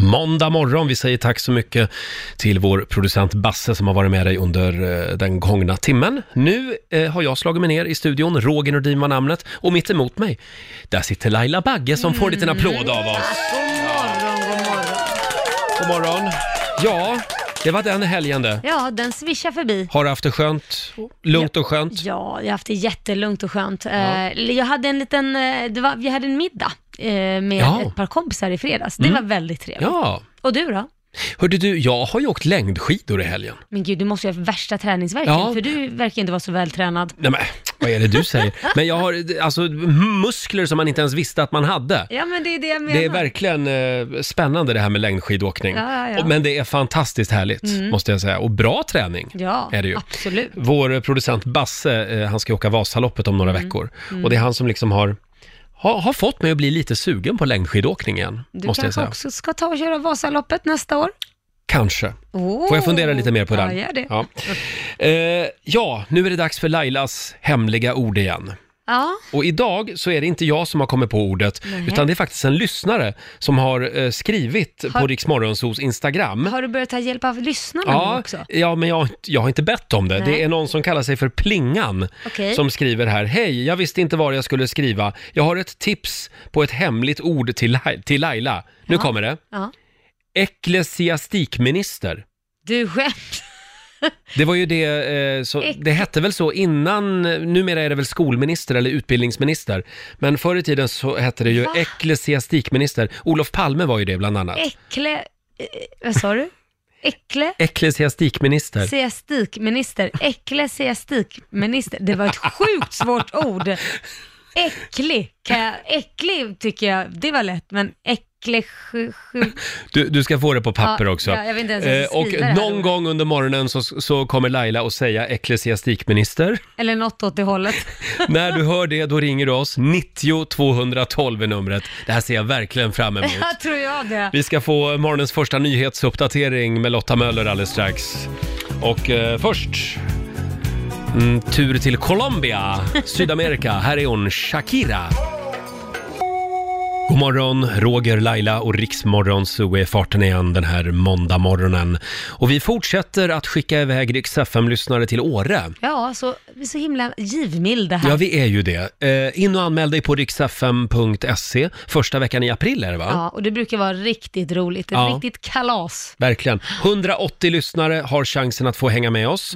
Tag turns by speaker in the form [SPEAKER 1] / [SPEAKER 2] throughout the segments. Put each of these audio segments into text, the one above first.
[SPEAKER 1] måndag morgon. Vi säger tack så mycket till vår producent Basse som har varit med dig under eh, den gångna timmen. Nu eh, har jag slagit mig ner i studion, Roger Nordin var namnet, och mitt emot mig, där sitter Laila Bagge som får en liten applåd av oss. God morgon! Ja, det var den helgen det.
[SPEAKER 2] Ja, den svischar förbi.
[SPEAKER 1] Har du haft det skönt? Lugnt och skönt?
[SPEAKER 2] Ja, jag har haft det jättelugnt och skönt. Eh, Jag hade en liten, eh, det var, jag hade en middag eh, med
[SPEAKER 1] Ja. Mm.
[SPEAKER 2] ett par kompisar i fredags. Det var väldigt trevligt.
[SPEAKER 1] Ja.
[SPEAKER 2] Och du då?
[SPEAKER 1] Hörde du, jag har ju åkt längdskidor i helgen.
[SPEAKER 2] Men gud, du måste ju ha värsta träningsvärken,
[SPEAKER 1] Ja.
[SPEAKER 2] för du verkar inte vara så vältränad.
[SPEAKER 1] Nej men, vad är det du säger? Men jag har alltså muskler som man inte ens visste att man hade.
[SPEAKER 2] Ja, men det är det jag menar.
[SPEAKER 1] Det är verkligen eh, spännande det här med längdskidåkning.
[SPEAKER 2] Ja, ja, Mm. ja.
[SPEAKER 1] Och- Men det är fantastiskt härligt, måste jag säga. Och bra träning
[SPEAKER 2] Ja,
[SPEAKER 1] är det ju.
[SPEAKER 2] absolut.
[SPEAKER 1] Vår producent Basse, eh, han ska åka Vasaloppet om några
[SPEAKER 2] Mm.
[SPEAKER 1] veckor. Och det är han som liksom har, har, har fått mig att bli lite sugen på längdskidåkning igen,
[SPEAKER 2] Du
[SPEAKER 1] måste jag
[SPEAKER 2] kanske
[SPEAKER 1] säga.
[SPEAKER 2] också ska ta och köra Vasaloppet nästa år.
[SPEAKER 1] Kanske.
[SPEAKER 2] Oh.
[SPEAKER 1] Får jag fundera lite mer på den?
[SPEAKER 2] Ja, gör det. Ja.
[SPEAKER 1] Ja. Eh, ja, nu är det dags för Lailas hemliga ord igen. Och idag så är det inte jag som har kommit på ordet,
[SPEAKER 2] Nej.
[SPEAKER 1] utan det är faktiskt en lyssnare som har eh, skrivit på
[SPEAKER 2] Har-
[SPEAKER 1] Rix Morgonzos Instagram.
[SPEAKER 2] Har du börjat ta hjälp av lyssnarna nu
[SPEAKER 1] Ja,
[SPEAKER 2] också?
[SPEAKER 1] ja, men jag, jag har inte bett om det.
[SPEAKER 2] Nej.
[SPEAKER 1] Det är någon som kallar sig för Plingan
[SPEAKER 2] Okej.
[SPEAKER 1] som skriver här. Hej, jag visste inte vad jag skulle skriva. Jag har ett tips på ett hemligt ord till, Lai- till Laila. Nu
[SPEAKER 2] Ja.
[SPEAKER 1] kommer det.
[SPEAKER 2] Ja.
[SPEAKER 1] Ecklesiastikminister.
[SPEAKER 2] Du skämt.
[SPEAKER 1] Det var ju det, eh, så,
[SPEAKER 2] Ek-
[SPEAKER 1] det hette väl så innan, eh, numera är det väl skolminister eller utbildningsminister. Men förr i tiden så hette det ju
[SPEAKER 2] Va?
[SPEAKER 1] ecklesiastikminister. Olof Palme var ju det bland annat.
[SPEAKER 2] Äckle... eh, Vad sa du? Äckle...
[SPEAKER 1] Ecklesiastikminister.
[SPEAKER 2] Siastikminister, ecklesiastikminister. Det var ett sjukt svårt ord. Äcklig, kan jag, äcklig tycker jag, det var lätt, men äcklig... sju- sju-
[SPEAKER 1] Du, du ska få det på papper
[SPEAKER 2] Ja,
[SPEAKER 1] också.
[SPEAKER 2] ja, jag vet inte ens hur jag ska
[SPEAKER 1] Eh, och
[SPEAKER 2] skriva det här
[SPEAKER 1] någon
[SPEAKER 2] ordet.
[SPEAKER 1] gång under morgonen så, så kommer Laila att säga ecklesiastikminister.
[SPEAKER 2] Eller något åt det hållet.
[SPEAKER 1] När du hör det, då ringer du oss. 90 212 är numret. Det här ser jag verkligen fram emot.
[SPEAKER 2] Jag tror jag det.
[SPEAKER 1] Vi ska få morgonens första nyhetsuppdatering med Lotta Möller alldeles strax. Och eh, först, mm, tur till Colombia, Sydamerika. Här är hon, Shakira. God morgon, Roger, Laila och Riksmorgon så är farten igen den här måndag morgonen. Och vi fortsätter att skicka iväg Rix lyssnare till Åre.
[SPEAKER 2] Ja, så, vi är så himla givmilda här.
[SPEAKER 1] Ja, vi är ju det. Eh, in och anmäl dig på riksfm.se. E. Första veckan i april är det va?
[SPEAKER 2] Ja, och det brukar vara riktigt roligt, ett
[SPEAKER 1] Ja.
[SPEAKER 2] riktigt kalas.
[SPEAKER 1] Verkligen. 180 lyssnare har chansen att få hänga med oss.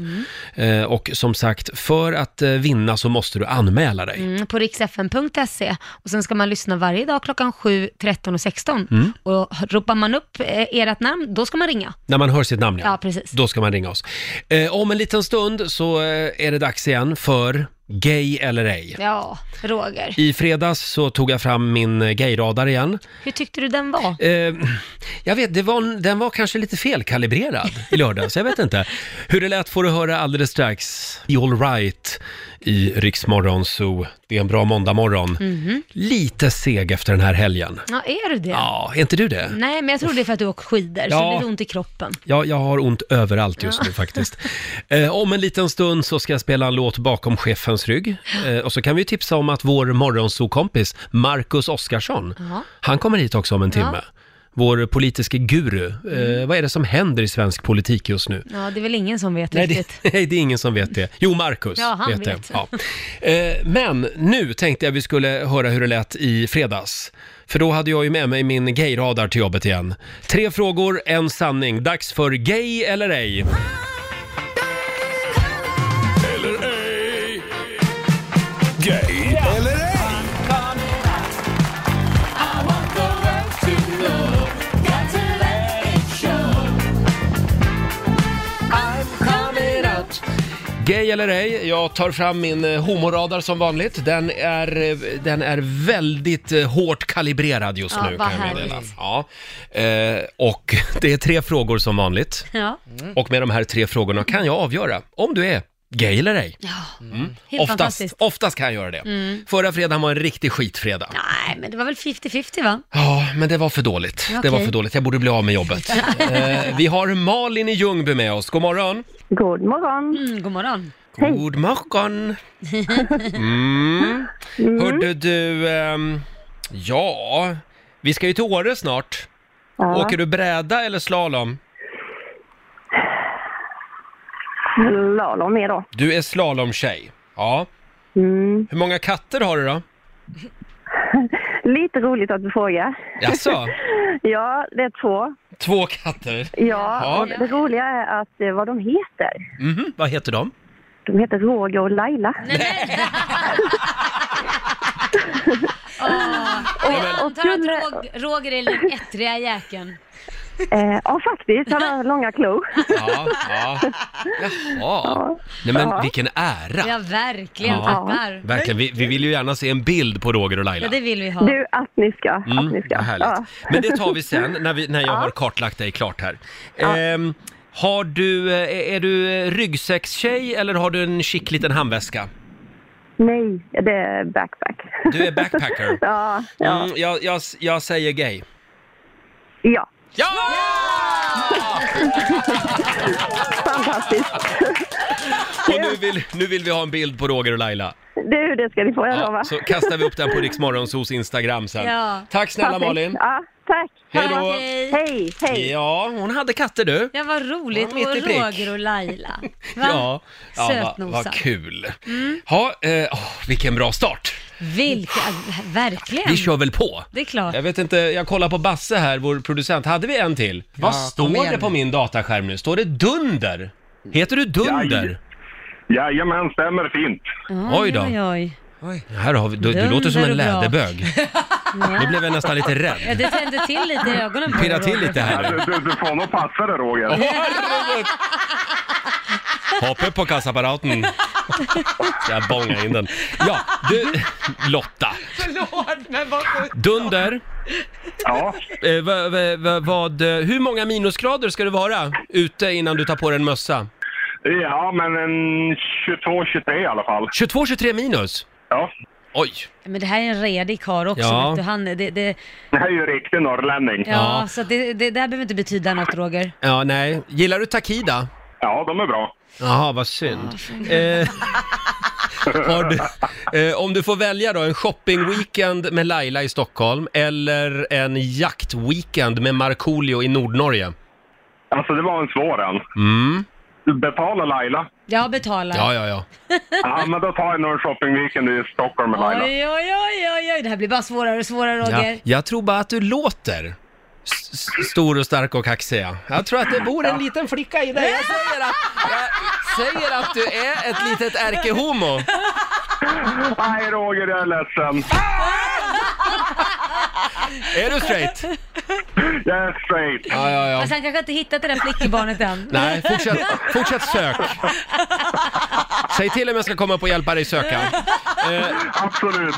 [SPEAKER 1] Eh, och som sagt, för att eh, vinna så måste du anmäla dig.
[SPEAKER 2] Mm, på riksfn.se och sen ska man lyssna varje dag klockan 7, 13 och 16.
[SPEAKER 1] Mm.
[SPEAKER 2] Och ropar man upp eh, ert namn, då ska man ringa.
[SPEAKER 1] När man hör sitt namn, ja.
[SPEAKER 2] Ja, precis.
[SPEAKER 1] Då ska man ringa oss. Eh, om en liten stund så eh, är det dags igen för Gay eller ej.
[SPEAKER 2] Ja, Roger.
[SPEAKER 1] I fredags så tog jag fram min eh, gayradar igen.
[SPEAKER 2] Hur tyckte du den var?
[SPEAKER 1] Eh, jag vet, det var, den var kanske lite felkalibrerad i lördags, jag vet inte. Hur det lät får du höra alldeles strax. I All Right i Riksmorgon Zoo. Det är en bra måndagmorgon. Lite seg efter den här helgen.
[SPEAKER 2] Ja, är du det?
[SPEAKER 1] Ja, är inte du det?
[SPEAKER 2] Nej, men jag tror det är för att du åker skidor, så
[SPEAKER 1] Ja.
[SPEAKER 2] blir det ont i kroppen.
[SPEAKER 1] Ja, jag har ont överallt just nu faktiskt. Eh, om en liten stund så ska jag spela en låt bakom chefens rygg. Eh, och så kan vi tipsa om att vår morgonsokompis Marcus Oskarsson,
[SPEAKER 2] Ja.
[SPEAKER 1] han kommer hit också om en timme. Vår politiske guru. Eh, vad är det som händer i svensk politik just nu?
[SPEAKER 2] Ja, det är väl ingen som vet
[SPEAKER 1] Nej det,
[SPEAKER 2] riktigt.
[SPEAKER 1] nej, det är ingen som vet det. Jo, Marcus
[SPEAKER 2] Ja, han
[SPEAKER 1] det.
[SPEAKER 2] vet.
[SPEAKER 1] Ja. Eh, Men nu tänkte jag vi skulle höra hur det lät i fredags. För då hade jag ju med mig min gayradar till jobbet igen. Tre frågor, en sanning. Dags för Gay eller ej.
[SPEAKER 3] Gay eller ej?
[SPEAKER 1] Gay eller ej, jag tar fram min eh, homoradar som vanligt. Den är, eh, den är väldigt eh, hårt kalibrerad just
[SPEAKER 2] Ja,
[SPEAKER 1] nu
[SPEAKER 2] vad
[SPEAKER 1] kan jag meddela.
[SPEAKER 2] härligt.
[SPEAKER 1] Ja. Eh, Och det är tre frågor som vanligt.
[SPEAKER 2] Ja,
[SPEAKER 1] Och med de här tre frågorna kan jag avgöra om du är gay eller ej.
[SPEAKER 2] helt
[SPEAKER 1] Oftast,
[SPEAKER 2] fantastiskt. Mm.
[SPEAKER 1] oftast kan jag göra det. Förra fredagen var en riktig skitfredag. Ja.
[SPEAKER 2] Nej, men det var väl 50-50 va?
[SPEAKER 1] men det var för dåligt. Det
[SPEAKER 2] Okej.
[SPEAKER 1] var för dåligt. Jag borde bli av med jobbet. eh, vi har Malin i Ljungby med oss. God morgon.
[SPEAKER 4] God morgon.
[SPEAKER 2] Mm, god morgon.
[SPEAKER 1] God morgon. Mm. Hörde du, ehm, ja, vi ska ju till Åre snart.
[SPEAKER 4] Ja.
[SPEAKER 1] Åker du bräda eller slalom?
[SPEAKER 4] Lala med då.
[SPEAKER 1] Du är slalomtjej. Ja.
[SPEAKER 4] Mm.
[SPEAKER 1] Hur många katter har du då?
[SPEAKER 4] Lite roligt att du frågar.
[SPEAKER 1] Jaså?
[SPEAKER 4] Ja, det är två.
[SPEAKER 1] Två katter?
[SPEAKER 4] Ja, och
[SPEAKER 1] Ja.
[SPEAKER 4] det roliga är att eh, vad de heter.
[SPEAKER 1] Mhm, vad heter de?
[SPEAKER 4] De heter Roger och Laila.
[SPEAKER 2] Och jag antar att
[SPEAKER 4] skulle-
[SPEAKER 2] Rog- Roger är den ettriga jäkeln.
[SPEAKER 4] Eh, ja, faktiskt. Han har långa klor.
[SPEAKER 1] Ja, ja. Jaha. Nej men vilken ära.
[SPEAKER 2] Ja, verkligen.
[SPEAKER 1] Ja.
[SPEAKER 2] Tackar.
[SPEAKER 1] Verkligen, vi, vi vill ju gärna se en bild på Roger och Laila.
[SPEAKER 2] Ja, det vill vi ha.
[SPEAKER 4] Du, att ni ska. att ni ska.
[SPEAKER 1] Mm, vad härligt.
[SPEAKER 4] Ja.
[SPEAKER 1] Men det tar vi sen när, vi, när jag har kartlagt dig klart här. Ehm, har du, eh, är du eh, ryggsäckstjej eller har du en chic liten handväska?
[SPEAKER 4] Nej, det är backpack.
[SPEAKER 1] Du är backpacker.
[SPEAKER 4] Ja, ja.
[SPEAKER 1] Mm, jag, jag, jag säger gay.
[SPEAKER 4] ja.
[SPEAKER 1] Ja!
[SPEAKER 4] Fantastiskt.
[SPEAKER 1] Och nu vill, nu vill vi ha en bild på Roger och Laila.
[SPEAKER 4] Du, det ska ni få, jag lovar.
[SPEAKER 1] Ja, så kastar vi upp den på Rix Morgonzos Instagram sen.
[SPEAKER 2] Ja.
[SPEAKER 1] Tack snälla
[SPEAKER 4] Perfekt.
[SPEAKER 1] Malin.
[SPEAKER 4] Ja, tack.
[SPEAKER 1] Hej då.
[SPEAKER 2] Hej.
[SPEAKER 4] Hej, hej.
[SPEAKER 1] Ja, hon hade katter du.
[SPEAKER 2] Ja, vad roligt.
[SPEAKER 1] Ja, mitt i
[SPEAKER 2] Och
[SPEAKER 1] prick.
[SPEAKER 2] Roger och Laila. Va?
[SPEAKER 1] Ja, ja vad
[SPEAKER 2] Sötnosar.
[SPEAKER 1] vad kul.
[SPEAKER 2] Mm.
[SPEAKER 1] Ha, eh, åh, vilken bra start.
[SPEAKER 2] Vilka, verkligen.
[SPEAKER 1] Vi kör väl på.
[SPEAKER 2] Det är klart.
[SPEAKER 1] Jag vet inte, jag kollar på Basse här, vår producent. Hade vi en till? Vad
[SPEAKER 5] kom
[SPEAKER 1] står
[SPEAKER 5] igen
[SPEAKER 1] det på
[SPEAKER 5] nu.
[SPEAKER 1] min dataskärm nu? Står det Dunder? Heter du Dunder?
[SPEAKER 6] Jajamän, stämmer fint.
[SPEAKER 1] Oj då.
[SPEAKER 2] Oj, oj.
[SPEAKER 1] Här har vi, du, du
[SPEAKER 2] Dunder
[SPEAKER 1] låter som en
[SPEAKER 2] och brak.
[SPEAKER 1] läderbög. Nu blev jag nästan lite
[SPEAKER 2] Ja,
[SPEAKER 1] rädd.
[SPEAKER 2] det tände till lite i ögonen på
[SPEAKER 1] Pirra
[SPEAKER 2] dig,
[SPEAKER 1] till
[SPEAKER 2] Roger.
[SPEAKER 1] lite
[SPEAKER 6] Ja,
[SPEAKER 1] här
[SPEAKER 6] Alltså, Du,
[SPEAKER 1] nu.
[SPEAKER 6] du, du får nog passa dig Roger.
[SPEAKER 1] Hoppa upp på kassaapparaten. Jag bongar in den. Ja, du, Lotta.
[SPEAKER 5] Förlåt, men vad
[SPEAKER 1] Dunder,
[SPEAKER 6] Ja,
[SPEAKER 1] eh, vad, vad, vad, vad, eh, hur många minusgrader ska du vara ute innan du tar på dig en mössa?
[SPEAKER 6] ja men en 22-23 i alla fall.
[SPEAKER 1] 22-23 minus?
[SPEAKER 6] Ja.
[SPEAKER 1] Oj!
[SPEAKER 2] Men det här är en redig karl också.
[SPEAKER 1] Ja.
[SPEAKER 2] Vet du, han, det, det,
[SPEAKER 6] Det här är ju en riktig norrlänning.
[SPEAKER 2] ja, Så att det, det, det här behöver inte betyda något, Roger.
[SPEAKER 1] Ja, nej. Gillar du Takida?
[SPEAKER 6] Ja, de är bra.
[SPEAKER 1] Jaha, vad synd. Eh, har du, eh, om du får välja då, en shoppingweekend med Laila i Stockholm eller en jaktweekend med Markoolio i Nordnorge?
[SPEAKER 6] Alltså det var en svår en.
[SPEAKER 1] Mm.
[SPEAKER 6] Betala Laila.
[SPEAKER 2] Jag betalar.
[SPEAKER 1] Ja, ja, ja.
[SPEAKER 6] Ja, men då tar jag nog en shoppingweekend i Stockholm med Laila.
[SPEAKER 2] Oj, oj, oj, oj, oj. Det här blir bara svårare och svårare, Roger.
[SPEAKER 1] ja. Jag tror bara att du låter s- s- stor och stark och kaxig. ja. Jag tror att det bor en liten flicka i dig. Jag säger att, jag säger att du är ett litet ärkehomo.
[SPEAKER 6] Nej Roger, jag är ledsen.
[SPEAKER 1] Är du straight?
[SPEAKER 6] Jag är straight.
[SPEAKER 1] Ja, ja, ja.
[SPEAKER 2] Fast han kanske inte hittat det där flickebarnet än.
[SPEAKER 1] Nej, fortsätt, fortsätt sök. Säg till om jag ska komma upp och hjälpa dig söka.
[SPEAKER 6] Absolut.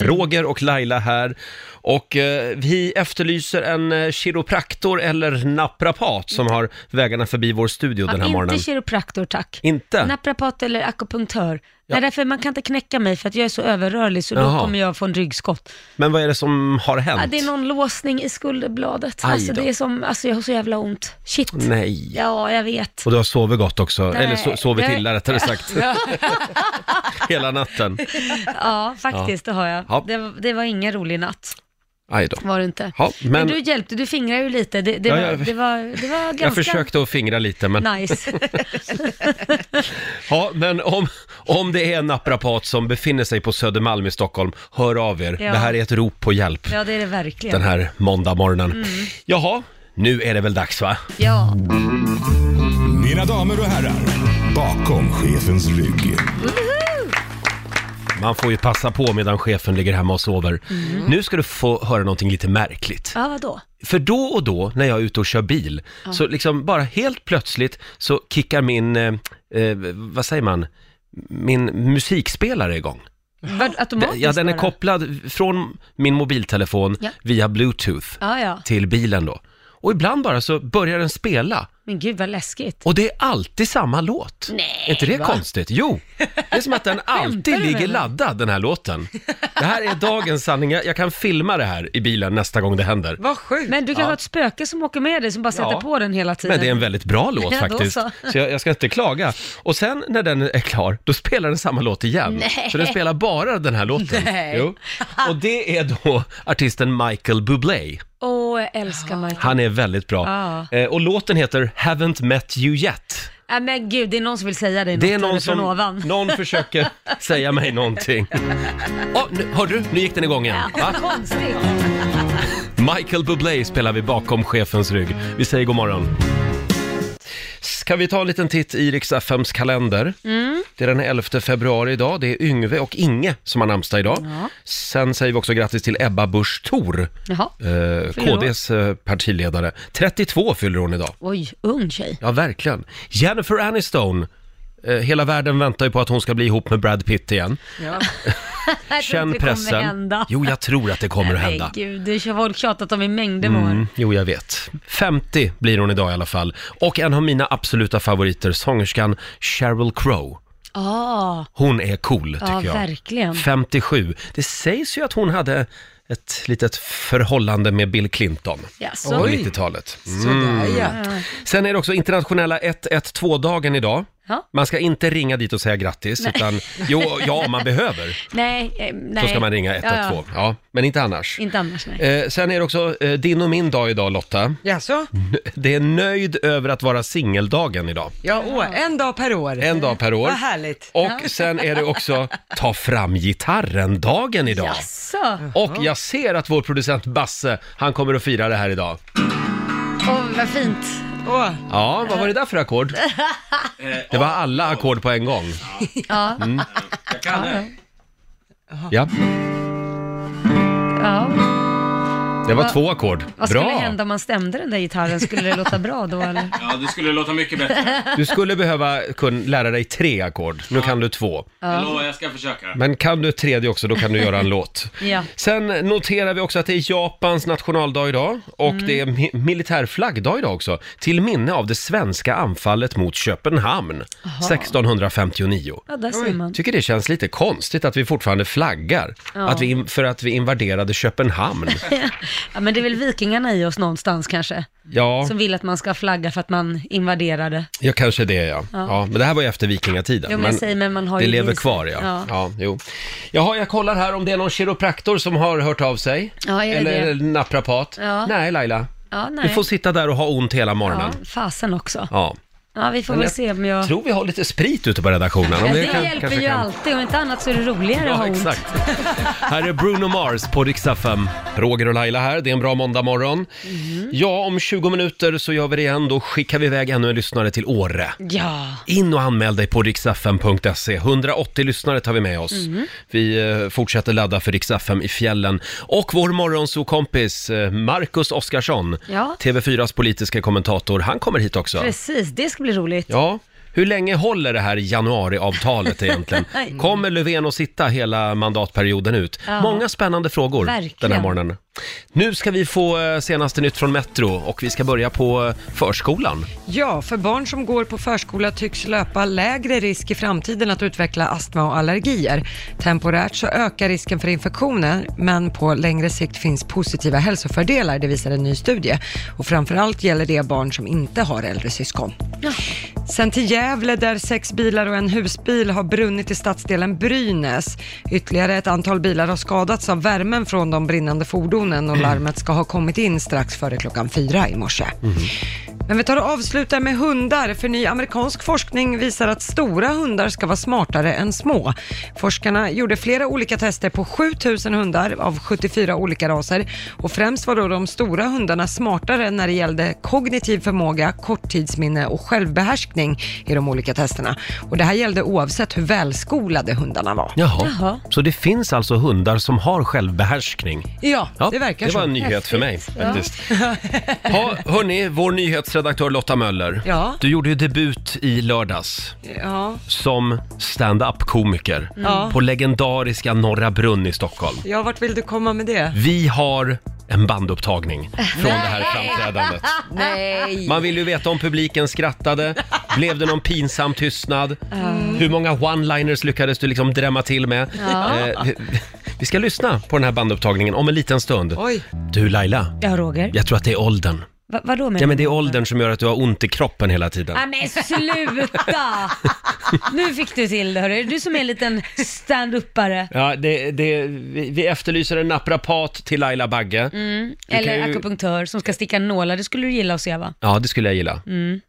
[SPEAKER 1] Roger och Laila här. Och eh, vi efterlyser en eh, kiropraktor eller naprapat som har vägarna förbi vår studio den
[SPEAKER 2] Ja,
[SPEAKER 1] här
[SPEAKER 2] inte
[SPEAKER 1] morgonen.
[SPEAKER 2] kiropraktor, tack.
[SPEAKER 1] Inte?
[SPEAKER 2] Naprapat eller akupunktör. Nej, därför man kan inte knäcka mig för att jag är så överrörlig så
[SPEAKER 1] Jaha.
[SPEAKER 2] då kommer jag få en ryggskott.
[SPEAKER 1] Men vad är det som har
[SPEAKER 2] Ja,
[SPEAKER 1] hänt?
[SPEAKER 2] det är någon låsning i skulderbladet.
[SPEAKER 1] Aj
[SPEAKER 2] Alltså
[SPEAKER 1] då.
[SPEAKER 2] det är som, alltså jag har så jävla ont. Shit.
[SPEAKER 1] Nej.
[SPEAKER 2] Ja, jag vet.
[SPEAKER 1] Och du har sovit gott också,
[SPEAKER 2] Nej.
[SPEAKER 1] eller so- sovit
[SPEAKER 2] Nej.
[SPEAKER 1] illa rättare sagt. Hela natten.
[SPEAKER 2] Ja, faktiskt det har jag.
[SPEAKER 1] Ja.
[SPEAKER 2] Det, var- det var ingen rolig natt,
[SPEAKER 1] Aj då.
[SPEAKER 2] var det inte.
[SPEAKER 1] Ja,
[SPEAKER 2] Men
[SPEAKER 1] men
[SPEAKER 2] du hjälpte, du fingrar ju lite. Det, det,
[SPEAKER 1] Ja,
[SPEAKER 2] var,
[SPEAKER 1] jag-
[SPEAKER 2] det, var, det var ganska
[SPEAKER 1] jag försökte att fingra lite men...
[SPEAKER 2] nice.
[SPEAKER 1] Ja, men om, om det är en naprapat som befinner sig på Södermalm i Stockholm, hör av er.
[SPEAKER 2] Ja.
[SPEAKER 1] Det här är ett rop på hjälp
[SPEAKER 2] Ja, Mm. det är det verkligen.
[SPEAKER 1] den här måndagmorgonen. Jaha, nu är det väl dags va?
[SPEAKER 2] Ja.
[SPEAKER 3] Mina damer och herrar, bakom chefens rygg.
[SPEAKER 1] Man får ju passa på medan chefen ligger hemma och sover. Nu ska du få höra någonting lite märkligt.
[SPEAKER 2] Mm. ja, vadå?
[SPEAKER 1] För då och då när jag är ute och kör bil, så liksom bara helt plötsligt så kickar min, eh, eh, vad säger man, min musikspelare igång.
[SPEAKER 2] Vad- Automatiskt
[SPEAKER 1] Ja, den är
[SPEAKER 2] bara?
[SPEAKER 1] kopplad från min mobiltelefon
[SPEAKER 2] Ja.
[SPEAKER 1] via bluetooth.
[SPEAKER 2] Ja, ja.
[SPEAKER 1] till bilen då. Och ibland bara så börjar den spela.
[SPEAKER 2] Men gud vad läskigt.
[SPEAKER 1] Och det är alltid samma låt.
[SPEAKER 2] Nej,
[SPEAKER 1] är inte det
[SPEAKER 2] va?
[SPEAKER 1] konstigt? Jo, det är som att den
[SPEAKER 2] Skämtar
[SPEAKER 1] alltid
[SPEAKER 2] du med
[SPEAKER 1] ligger
[SPEAKER 2] mig?
[SPEAKER 1] laddad, den här låten. Det här är dagens sanning. Jag jag kan filma det här i bilen nästa gång det händer.
[SPEAKER 5] Vad sjukt.
[SPEAKER 2] Men du kan ha ett spöke som åker med dig som bara sätter
[SPEAKER 1] Ja.
[SPEAKER 2] på den hela tiden.
[SPEAKER 1] Men det är en väldigt bra låt
[SPEAKER 2] Ja, då
[SPEAKER 1] faktiskt. Så,
[SPEAKER 2] så.
[SPEAKER 1] jag, jag ska inte klaga. Och sen när den är klar, då spelar den samma låt igen. Så den spelar bara den här låten.
[SPEAKER 5] Nej.
[SPEAKER 1] Jo. Och det är då artisten Michael Bublé.
[SPEAKER 2] Åh, jag älskar Michael.
[SPEAKER 1] Han är väldigt bra.
[SPEAKER 2] Ja.
[SPEAKER 1] Eh, och låten heter Haven't Met You Yet.
[SPEAKER 2] Nej Äh, men gud, det är någon som vill säga dig
[SPEAKER 1] Det är
[SPEAKER 2] något
[SPEAKER 1] någon
[SPEAKER 2] från
[SPEAKER 1] som,
[SPEAKER 2] ovan.
[SPEAKER 1] någon försöker säga mig någonting. Åh, nu, hör du? Nu gick den igång igen. Va?
[SPEAKER 2] Konstigt.
[SPEAKER 1] Michael Bublé spelar vi bakom chefens rygg. Vi säger god morgon. Ska vi ta en liten titt i Rix FMs kalender?
[SPEAKER 2] Mm.
[SPEAKER 1] Det är den 11 februari idag. Det är Yngve och Inge som har namnsdag idag. Sen säger vi också grattis till Ebba Busch Thor,
[SPEAKER 2] Jaha.
[SPEAKER 1] eh, KDs eh, partiledare. 32 fyller hon idag.
[SPEAKER 2] Oj, ung tjej.
[SPEAKER 1] Ja, verkligen. Jennifer Aniston. Eh, hela världen väntar ju på att hon ska bli ihop med Brad Pitt igen.
[SPEAKER 5] Ja.
[SPEAKER 2] Jag tror
[SPEAKER 1] Känn
[SPEAKER 2] inte det
[SPEAKER 1] pressen.
[SPEAKER 2] kommer hända.
[SPEAKER 1] Jo, jag tror att det kommer att hända.
[SPEAKER 2] Nej gud, det har folk tjatat om i mängder med år.
[SPEAKER 1] Mm, jo, jag vet. 50 blir hon idag i alla fall. Och en av mina absoluta favoriter, sångerskan Sheryl Crow.
[SPEAKER 2] Ah,
[SPEAKER 1] Hon är cool, tycker
[SPEAKER 2] ja
[SPEAKER 1] jag.
[SPEAKER 2] verkligen.
[SPEAKER 1] 57. Det sägs ju att hon hade ett litet förhållande med Bill Clinton
[SPEAKER 2] Jaså?
[SPEAKER 1] på
[SPEAKER 5] Oj.
[SPEAKER 1] 90-talet.
[SPEAKER 5] Sådär ja.
[SPEAKER 1] Sen är det också internationella 112-dagen idag.
[SPEAKER 2] Ja.
[SPEAKER 1] Man ska inte ringa dit och säga grattis, utan jo, ja, om man behöver
[SPEAKER 2] Nej, eh, nej.
[SPEAKER 1] så ska man ringa
[SPEAKER 2] Ja,
[SPEAKER 1] 112.
[SPEAKER 2] ja.
[SPEAKER 1] Ja, men inte annars.
[SPEAKER 2] Inte annars nej.
[SPEAKER 1] Eh, sen är det också eh, din och min dag idag, Lotta.
[SPEAKER 5] Jaså?
[SPEAKER 1] Det är nöjd över att vara singeldagen idag.
[SPEAKER 5] Ja, åh, en dag per år.
[SPEAKER 1] En dag per år.
[SPEAKER 5] Vad härligt.
[SPEAKER 1] Och sen är det också ta fram gitarren-dagen idag.
[SPEAKER 2] Jaså?
[SPEAKER 1] Och jag ser att vår producent Basse, han kommer att fira det här idag.
[SPEAKER 2] Åh, vad fint.
[SPEAKER 5] Åh,
[SPEAKER 1] Ja, vad var det där för ackord? Det var alla ackord på en gång. Mm.
[SPEAKER 2] Ja.
[SPEAKER 1] Ja,
[SPEAKER 2] ja.
[SPEAKER 1] det var två ackord.
[SPEAKER 2] Vad skulle
[SPEAKER 1] Bra!
[SPEAKER 2] hända om man stämde den där gitarren? Skulle det låta bra då eller?
[SPEAKER 7] Ja, det skulle låta mycket bättre.
[SPEAKER 1] Du skulle behöva kun, lära dig tre ackord. Nu kan du två.
[SPEAKER 7] Jag lovar, jag ska försöka.
[SPEAKER 1] Men kan du ett tredje också, då kan du göra en låt.
[SPEAKER 2] Ja.
[SPEAKER 1] Sen noterar vi också att det är Japans nationaldag idag och
[SPEAKER 2] Mm.
[SPEAKER 1] det är mi- militärflaggdag idag också. Till minne av det svenska anfallet mot Köpenhamn 1659.
[SPEAKER 2] Ja, där ser man.
[SPEAKER 1] Tycker det känns lite konstigt att vi fortfarande flaggar
[SPEAKER 2] Ja.
[SPEAKER 1] att vi, in- för att vi invaderade Köpenhamn.
[SPEAKER 2] Ja, men det är väl vikingarna i oss någonstans kanske?
[SPEAKER 1] Ja,
[SPEAKER 2] Som vill att man ska flagga för att man invaderade.
[SPEAKER 1] ja kanske det ja. ja. Men det här var ju efter vikingatiden.
[SPEAKER 2] Jo, men jag säger, men man har
[SPEAKER 1] det
[SPEAKER 2] ju
[SPEAKER 1] lever
[SPEAKER 2] minst-
[SPEAKER 1] kvar ja. ja.
[SPEAKER 2] Ja.
[SPEAKER 1] jo. Jaha, jag kollar här om det är någon kiropraktor som har hört av sig.
[SPEAKER 2] Ja, är det
[SPEAKER 1] Eller
[SPEAKER 2] det?
[SPEAKER 1] eller naprapat.
[SPEAKER 2] Ja.
[SPEAKER 1] Nej Laila.
[SPEAKER 2] Ja, nej.
[SPEAKER 1] Du får sitta där och ha ont hela
[SPEAKER 2] ja,
[SPEAKER 1] morgonen.
[SPEAKER 2] fasen också.
[SPEAKER 1] Ja.
[SPEAKER 2] Ja, vi får
[SPEAKER 1] Men
[SPEAKER 2] väl
[SPEAKER 1] jag
[SPEAKER 2] se om jag...
[SPEAKER 1] Jag tror vi har lite sprit ute på redaktionen.
[SPEAKER 2] Ja, det
[SPEAKER 1] kan-
[SPEAKER 2] hjälper
[SPEAKER 1] kanske
[SPEAKER 2] ju
[SPEAKER 1] kan-
[SPEAKER 2] alltid, om inte annat så är det roligare att ha
[SPEAKER 1] Ja,
[SPEAKER 2] ont.
[SPEAKER 1] exakt. här är Bruno Mars på riksdag 5. Roger och Laila här, det är en bra måndagmorgon.
[SPEAKER 2] Mhm.
[SPEAKER 1] Ja, om 20 minuter så gör vi det igen. Då skickar vi iväg ännu en lyssnare till Åre.
[SPEAKER 2] Ja,
[SPEAKER 1] In och anmäl dig på riksfm.se. 180 lyssnare tar vi med oss.
[SPEAKER 2] Mhm.
[SPEAKER 1] Vi eh, fortsätter ladda för riksfm i fjällen. Och vår morgonsokompis eh, Marcus Oskarsson,
[SPEAKER 2] Ja.
[SPEAKER 1] TV4s politiska kommentator, han kommer hit också.
[SPEAKER 2] precis. Det ska bli roligt.
[SPEAKER 1] Ja, hur länge håller det här januariavtalet egentligen? Kommer Löfven att sitta hela mandatperioden ut?
[SPEAKER 2] Ja.
[SPEAKER 1] Många spännande frågor
[SPEAKER 2] Verkligen.
[SPEAKER 1] den här morgonen. Nu ska vi få eh, senaste nytt från Metro och vi ska börja på eh, förskolan.
[SPEAKER 5] Ja, för barn som går på förskola tycks löpa lägre risk i framtiden att utveckla astma och allergier. Temporärt så ökar risken för infektioner, men på längre sikt finns positiva hälsofördelar, det visar en ny studie. Och framförallt gäller det barn som inte har äldre syskon. Sen till Gävle där sex bilar och en husbil har brunnit i stadsdelen Brynäs. Ytterligare ett antal bilar har skadats av värmen från de brinnande fordonen och larmet ska ha kommit in strax före klockan fyra i morse. Men vi tar och avslutar med hundar, för ny amerikansk forskning visar att stora hundar ska vara smartare än små. Forskarna gjorde flera olika tester på 7000 hundar av 74 olika raser och främst var då de stora hundarna smartare när det gällde kognitiv förmåga, korttidsminne och självbehärskning i de olika testerna. Och det här gällde oavsett hur välskolade hundarna var.
[SPEAKER 1] Jaha.
[SPEAKER 2] Jaha.
[SPEAKER 1] Så det finns alltså hundar som har självbehärskning?
[SPEAKER 5] Ja,
[SPEAKER 1] Ja,
[SPEAKER 5] det verkar
[SPEAKER 1] Det var
[SPEAKER 5] så.
[SPEAKER 1] en nyhet för mig faktiskt. Ja, hörni, vår nyhetsredaktör Lotta Möller.
[SPEAKER 5] Ja.
[SPEAKER 1] Du gjorde ju debut i lördags.
[SPEAKER 5] Ja,
[SPEAKER 1] som stand-up-komiker
[SPEAKER 5] Mm. Ja.
[SPEAKER 1] på legendariska Norra Brunn i Stockholm.
[SPEAKER 5] ja, vart vill du komma med det?
[SPEAKER 1] Vi har en bandupptagning
[SPEAKER 5] Äh.
[SPEAKER 1] från det här framträdandet.
[SPEAKER 5] Nej.
[SPEAKER 1] Man vill ju veta om publiken skrattade, blev det någon pinsam tystnad?
[SPEAKER 2] Mm.
[SPEAKER 1] Hur många one-liners lyckades du liksom drämma till med? Eh, vi- vi ska lyssna på den här bandupptagningen om en liten stund.
[SPEAKER 5] Oj.
[SPEAKER 1] Du Laila,
[SPEAKER 2] Ja, Roger.
[SPEAKER 1] jag tror att det är åldern.
[SPEAKER 2] Va- vadå menar
[SPEAKER 1] Ja men det är åldern som gör att du har ont i kroppen hela tiden.
[SPEAKER 2] Nej men sluta! nu fick du till det hörru. Du som är en liten stand-uppare.
[SPEAKER 1] Ja, det, det, vi, vi efterlyser en naprapat till Laila Bagge.
[SPEAKER 2] Eller
[SPEAKER 1] kan ju-
[SPEAKER 2] akupunktör som ska sticka nålar. Det skulle du gilla att se va?
[SPEAKER 1] Ja, det skulle jag gilla.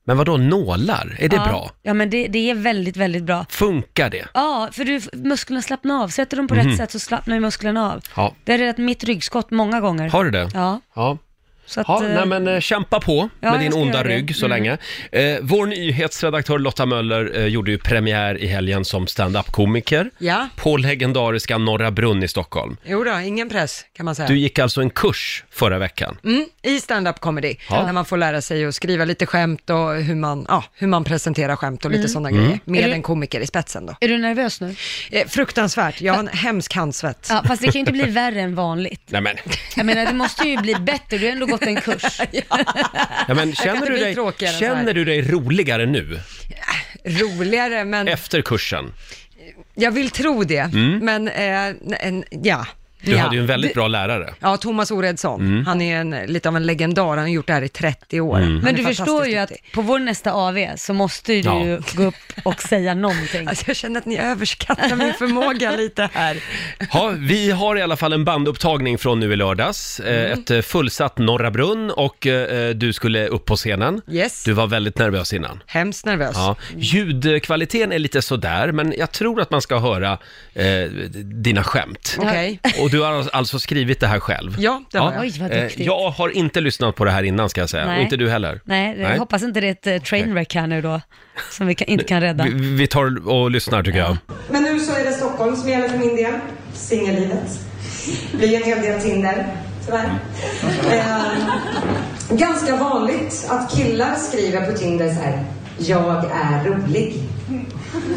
[SPEAKER 1] Men vad då nålar? Är det
[SPEAKER 2] Mm. ja.
[SPEAKER 1] bra?
[SPEAKER 2] Ja men det, det är väldigt, väldigt bra.
[SPEAKER 1] Funkar det?
[SPEAKER 2] Ja, för du, musklerna slappnar av. Sätter dem på rätt sätt så slappnar ju musklerna av.
[SPEAKER 1] Mhm. Ja.
[SPEAKER 2] Det har räddat mitt ryggskott många gånger.
[SPEAKER 1] Har du det?
[SPEAKER 2] Ja,
[SPEAKER 1] Ja.
[SPEAKER 2] så att...
[SPEAKER 1] Ja,
[SPEAKER 2] eh,
[SPEAKER 1] nej men eh, kämpa på
[SPEAKER 2] Ja,
[SPEAKER 1] med
[SPEAKER 2] jag
[SPEAKER 1] din
[SPEAKER 2] ska
[SPEAKER 1] onda
[SPEAKER 2] göra det.
[SPEAKER 1] rygg
[SPEAKER 5] Mm.
[SPEAKER 1] så länge. Eh, vår nyhetsredaktör Lotta Möller eh, gjorde ju premiär i helgen som stand-up-komiker
[SPEAKER 5] Ja.
[SPEAKER 1] på legendariska Norra Brunn i Stockholm.
[SPEAKER 5] Jo då, ingen press kan man säga.
[SPEAKER 1] Du gick alltså en kurs förra veckan.
[SPEAKER 5] Mm, I stand-up comedy,
[SPEAKER 1] Ja.
[SPEAKER 5] när man får lära sig att skriva lite skämt och hur man, ja, hur man presenterar skämt och lite sådana
[SPEAKER 1] Mm.
[SPEAKER 5] grejer, med
[SPEAKER 2] Mm. Är det-
[SPEAKER 5] en komiker i spetsen då.
[SPEAKER 2] Är du nervös nu?
[SPEAKER 5] Eh, fruktansvärt, jag har en hemsk handsvett.
[SPEAKER 2] Ja, fast det kan ju inte bli värre än vanligt.
[SPEAKER 1] Nej men,
[SPEAKER 2] Jag menar, det måste ju bli bättre. Du har ändå gått en kurs.
[SPEAKER 1] ja, men
[SPEAKER 5] kan
[SPEAKER 1] känner,
[SPEAKER 5] inte
[SPEAKER 1] du
[SPEAKER 5] bli
[SPEAKER 1] dig,
[SPEAKER 5] tråkigare än så här. Mm.
[SPEAKER 1] känner du dig roligare nu,
[SPEAKER 5] Roligare, men
[SPEAKER 1] efter kursen?
[SPEAKER 5] jag vill tro det. Men, eh, en, ja.
[SPEAKER 1] Mm. Du
[SPEAKER 5] ja.
[SPEAKER 1] hade ju en Mm. väldigt bra lärare.
[SPEAKER 5] Ja, Thomas Oredsson, han är en, lite av en legendar, han har gjort det här i 30 år.
[SPEAKER 1] Mm.
[SPEAKER 5] Han är
[SPEAKER 2] Men du förstår
[SPEAKER 5] fantastiskt
[SPEAKER 2] ju att
[SPEAKER 5] duktig.
[SPEAKER 2] på vår nästa AV så måste ju du
[SPEAKER 1] Ja.
[SPEAKER 2] ju gå upp och säga någonting.
[SPEAKER 5] Alltså, jag känner att ni överskattar min förmåga lite här.
[SPEAKER 1] Ja, vi har i alla fall en bandupptagning från nu i lördags. Eh,
[SPEAKER 5] Mm.
[SPEAKER 1] Ett eh, fullsatt Norra Brunn och eh, du skulle upp på scenen.
[SPEAKER 5] Yes,
[SPEAKER 1] Du var väldigt nervös innan.
[SPEAKER 5] hemskt nervös.
[SPEAKER 1] Ja. Ljudkvaliteten är lite sådär, men jag tror att man ska höra eh, dina skämt.
[SPEAKER 5] Okej.
[SPEAKER 1] Och du har alltså skrivit det här själv?
[SPEAKER 5] Ja, det har jag.
[SPEAKER 2] Oj, vad
[SPEAKER 1] Eh,
[SPEAKER 2] duktigt.
[SPEAKER 1] Jag har inte lyssnat på det här innan ska jag säga,
[SPEAKER 2] Nej.
[SPEAKER 1] och inte du heller.
[SPEAKER 2] Nej, jag
[SPEAKER 1] Nej.
[SPEAKER 2] hoppas inte det är ett eh, trainwreck här nu då, som vi kan, inte kan rädda.
[SPEAKER 1] Vi, vi tar och lyssnar tycker jag.
[SPEAKER 8] Men nu så är det Stockholm som gäller för min del. Singellivet. Det blir en hel del Tinder, tyvärr. Eh, ganska vanligt att killar skriver på Tinder så här. Jag är rolig.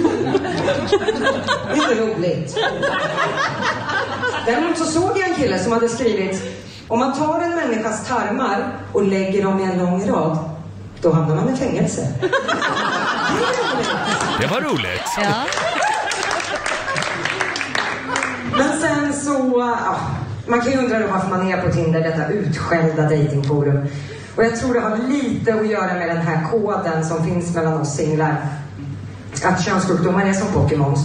[SPEAKER 8] Det är inte roligt. Däremot så såg jag en kille som hade skrivit om man tar en människas tarmar och lägger dem i en lång rad, då hamnar man i fängelse. Det är roligt.
[SPEAKER 1] Det var roligt.
[SPEAKER 2] Ja.
[SPEAKER 8] Men sen så, ja, man kan ju undra då varför man är på Tinder, detta utskällda datingforum. Och jag tror det har lite att göra med den här koden som finns mellan oss singlar. Att könssjukdomar är som Pokémons.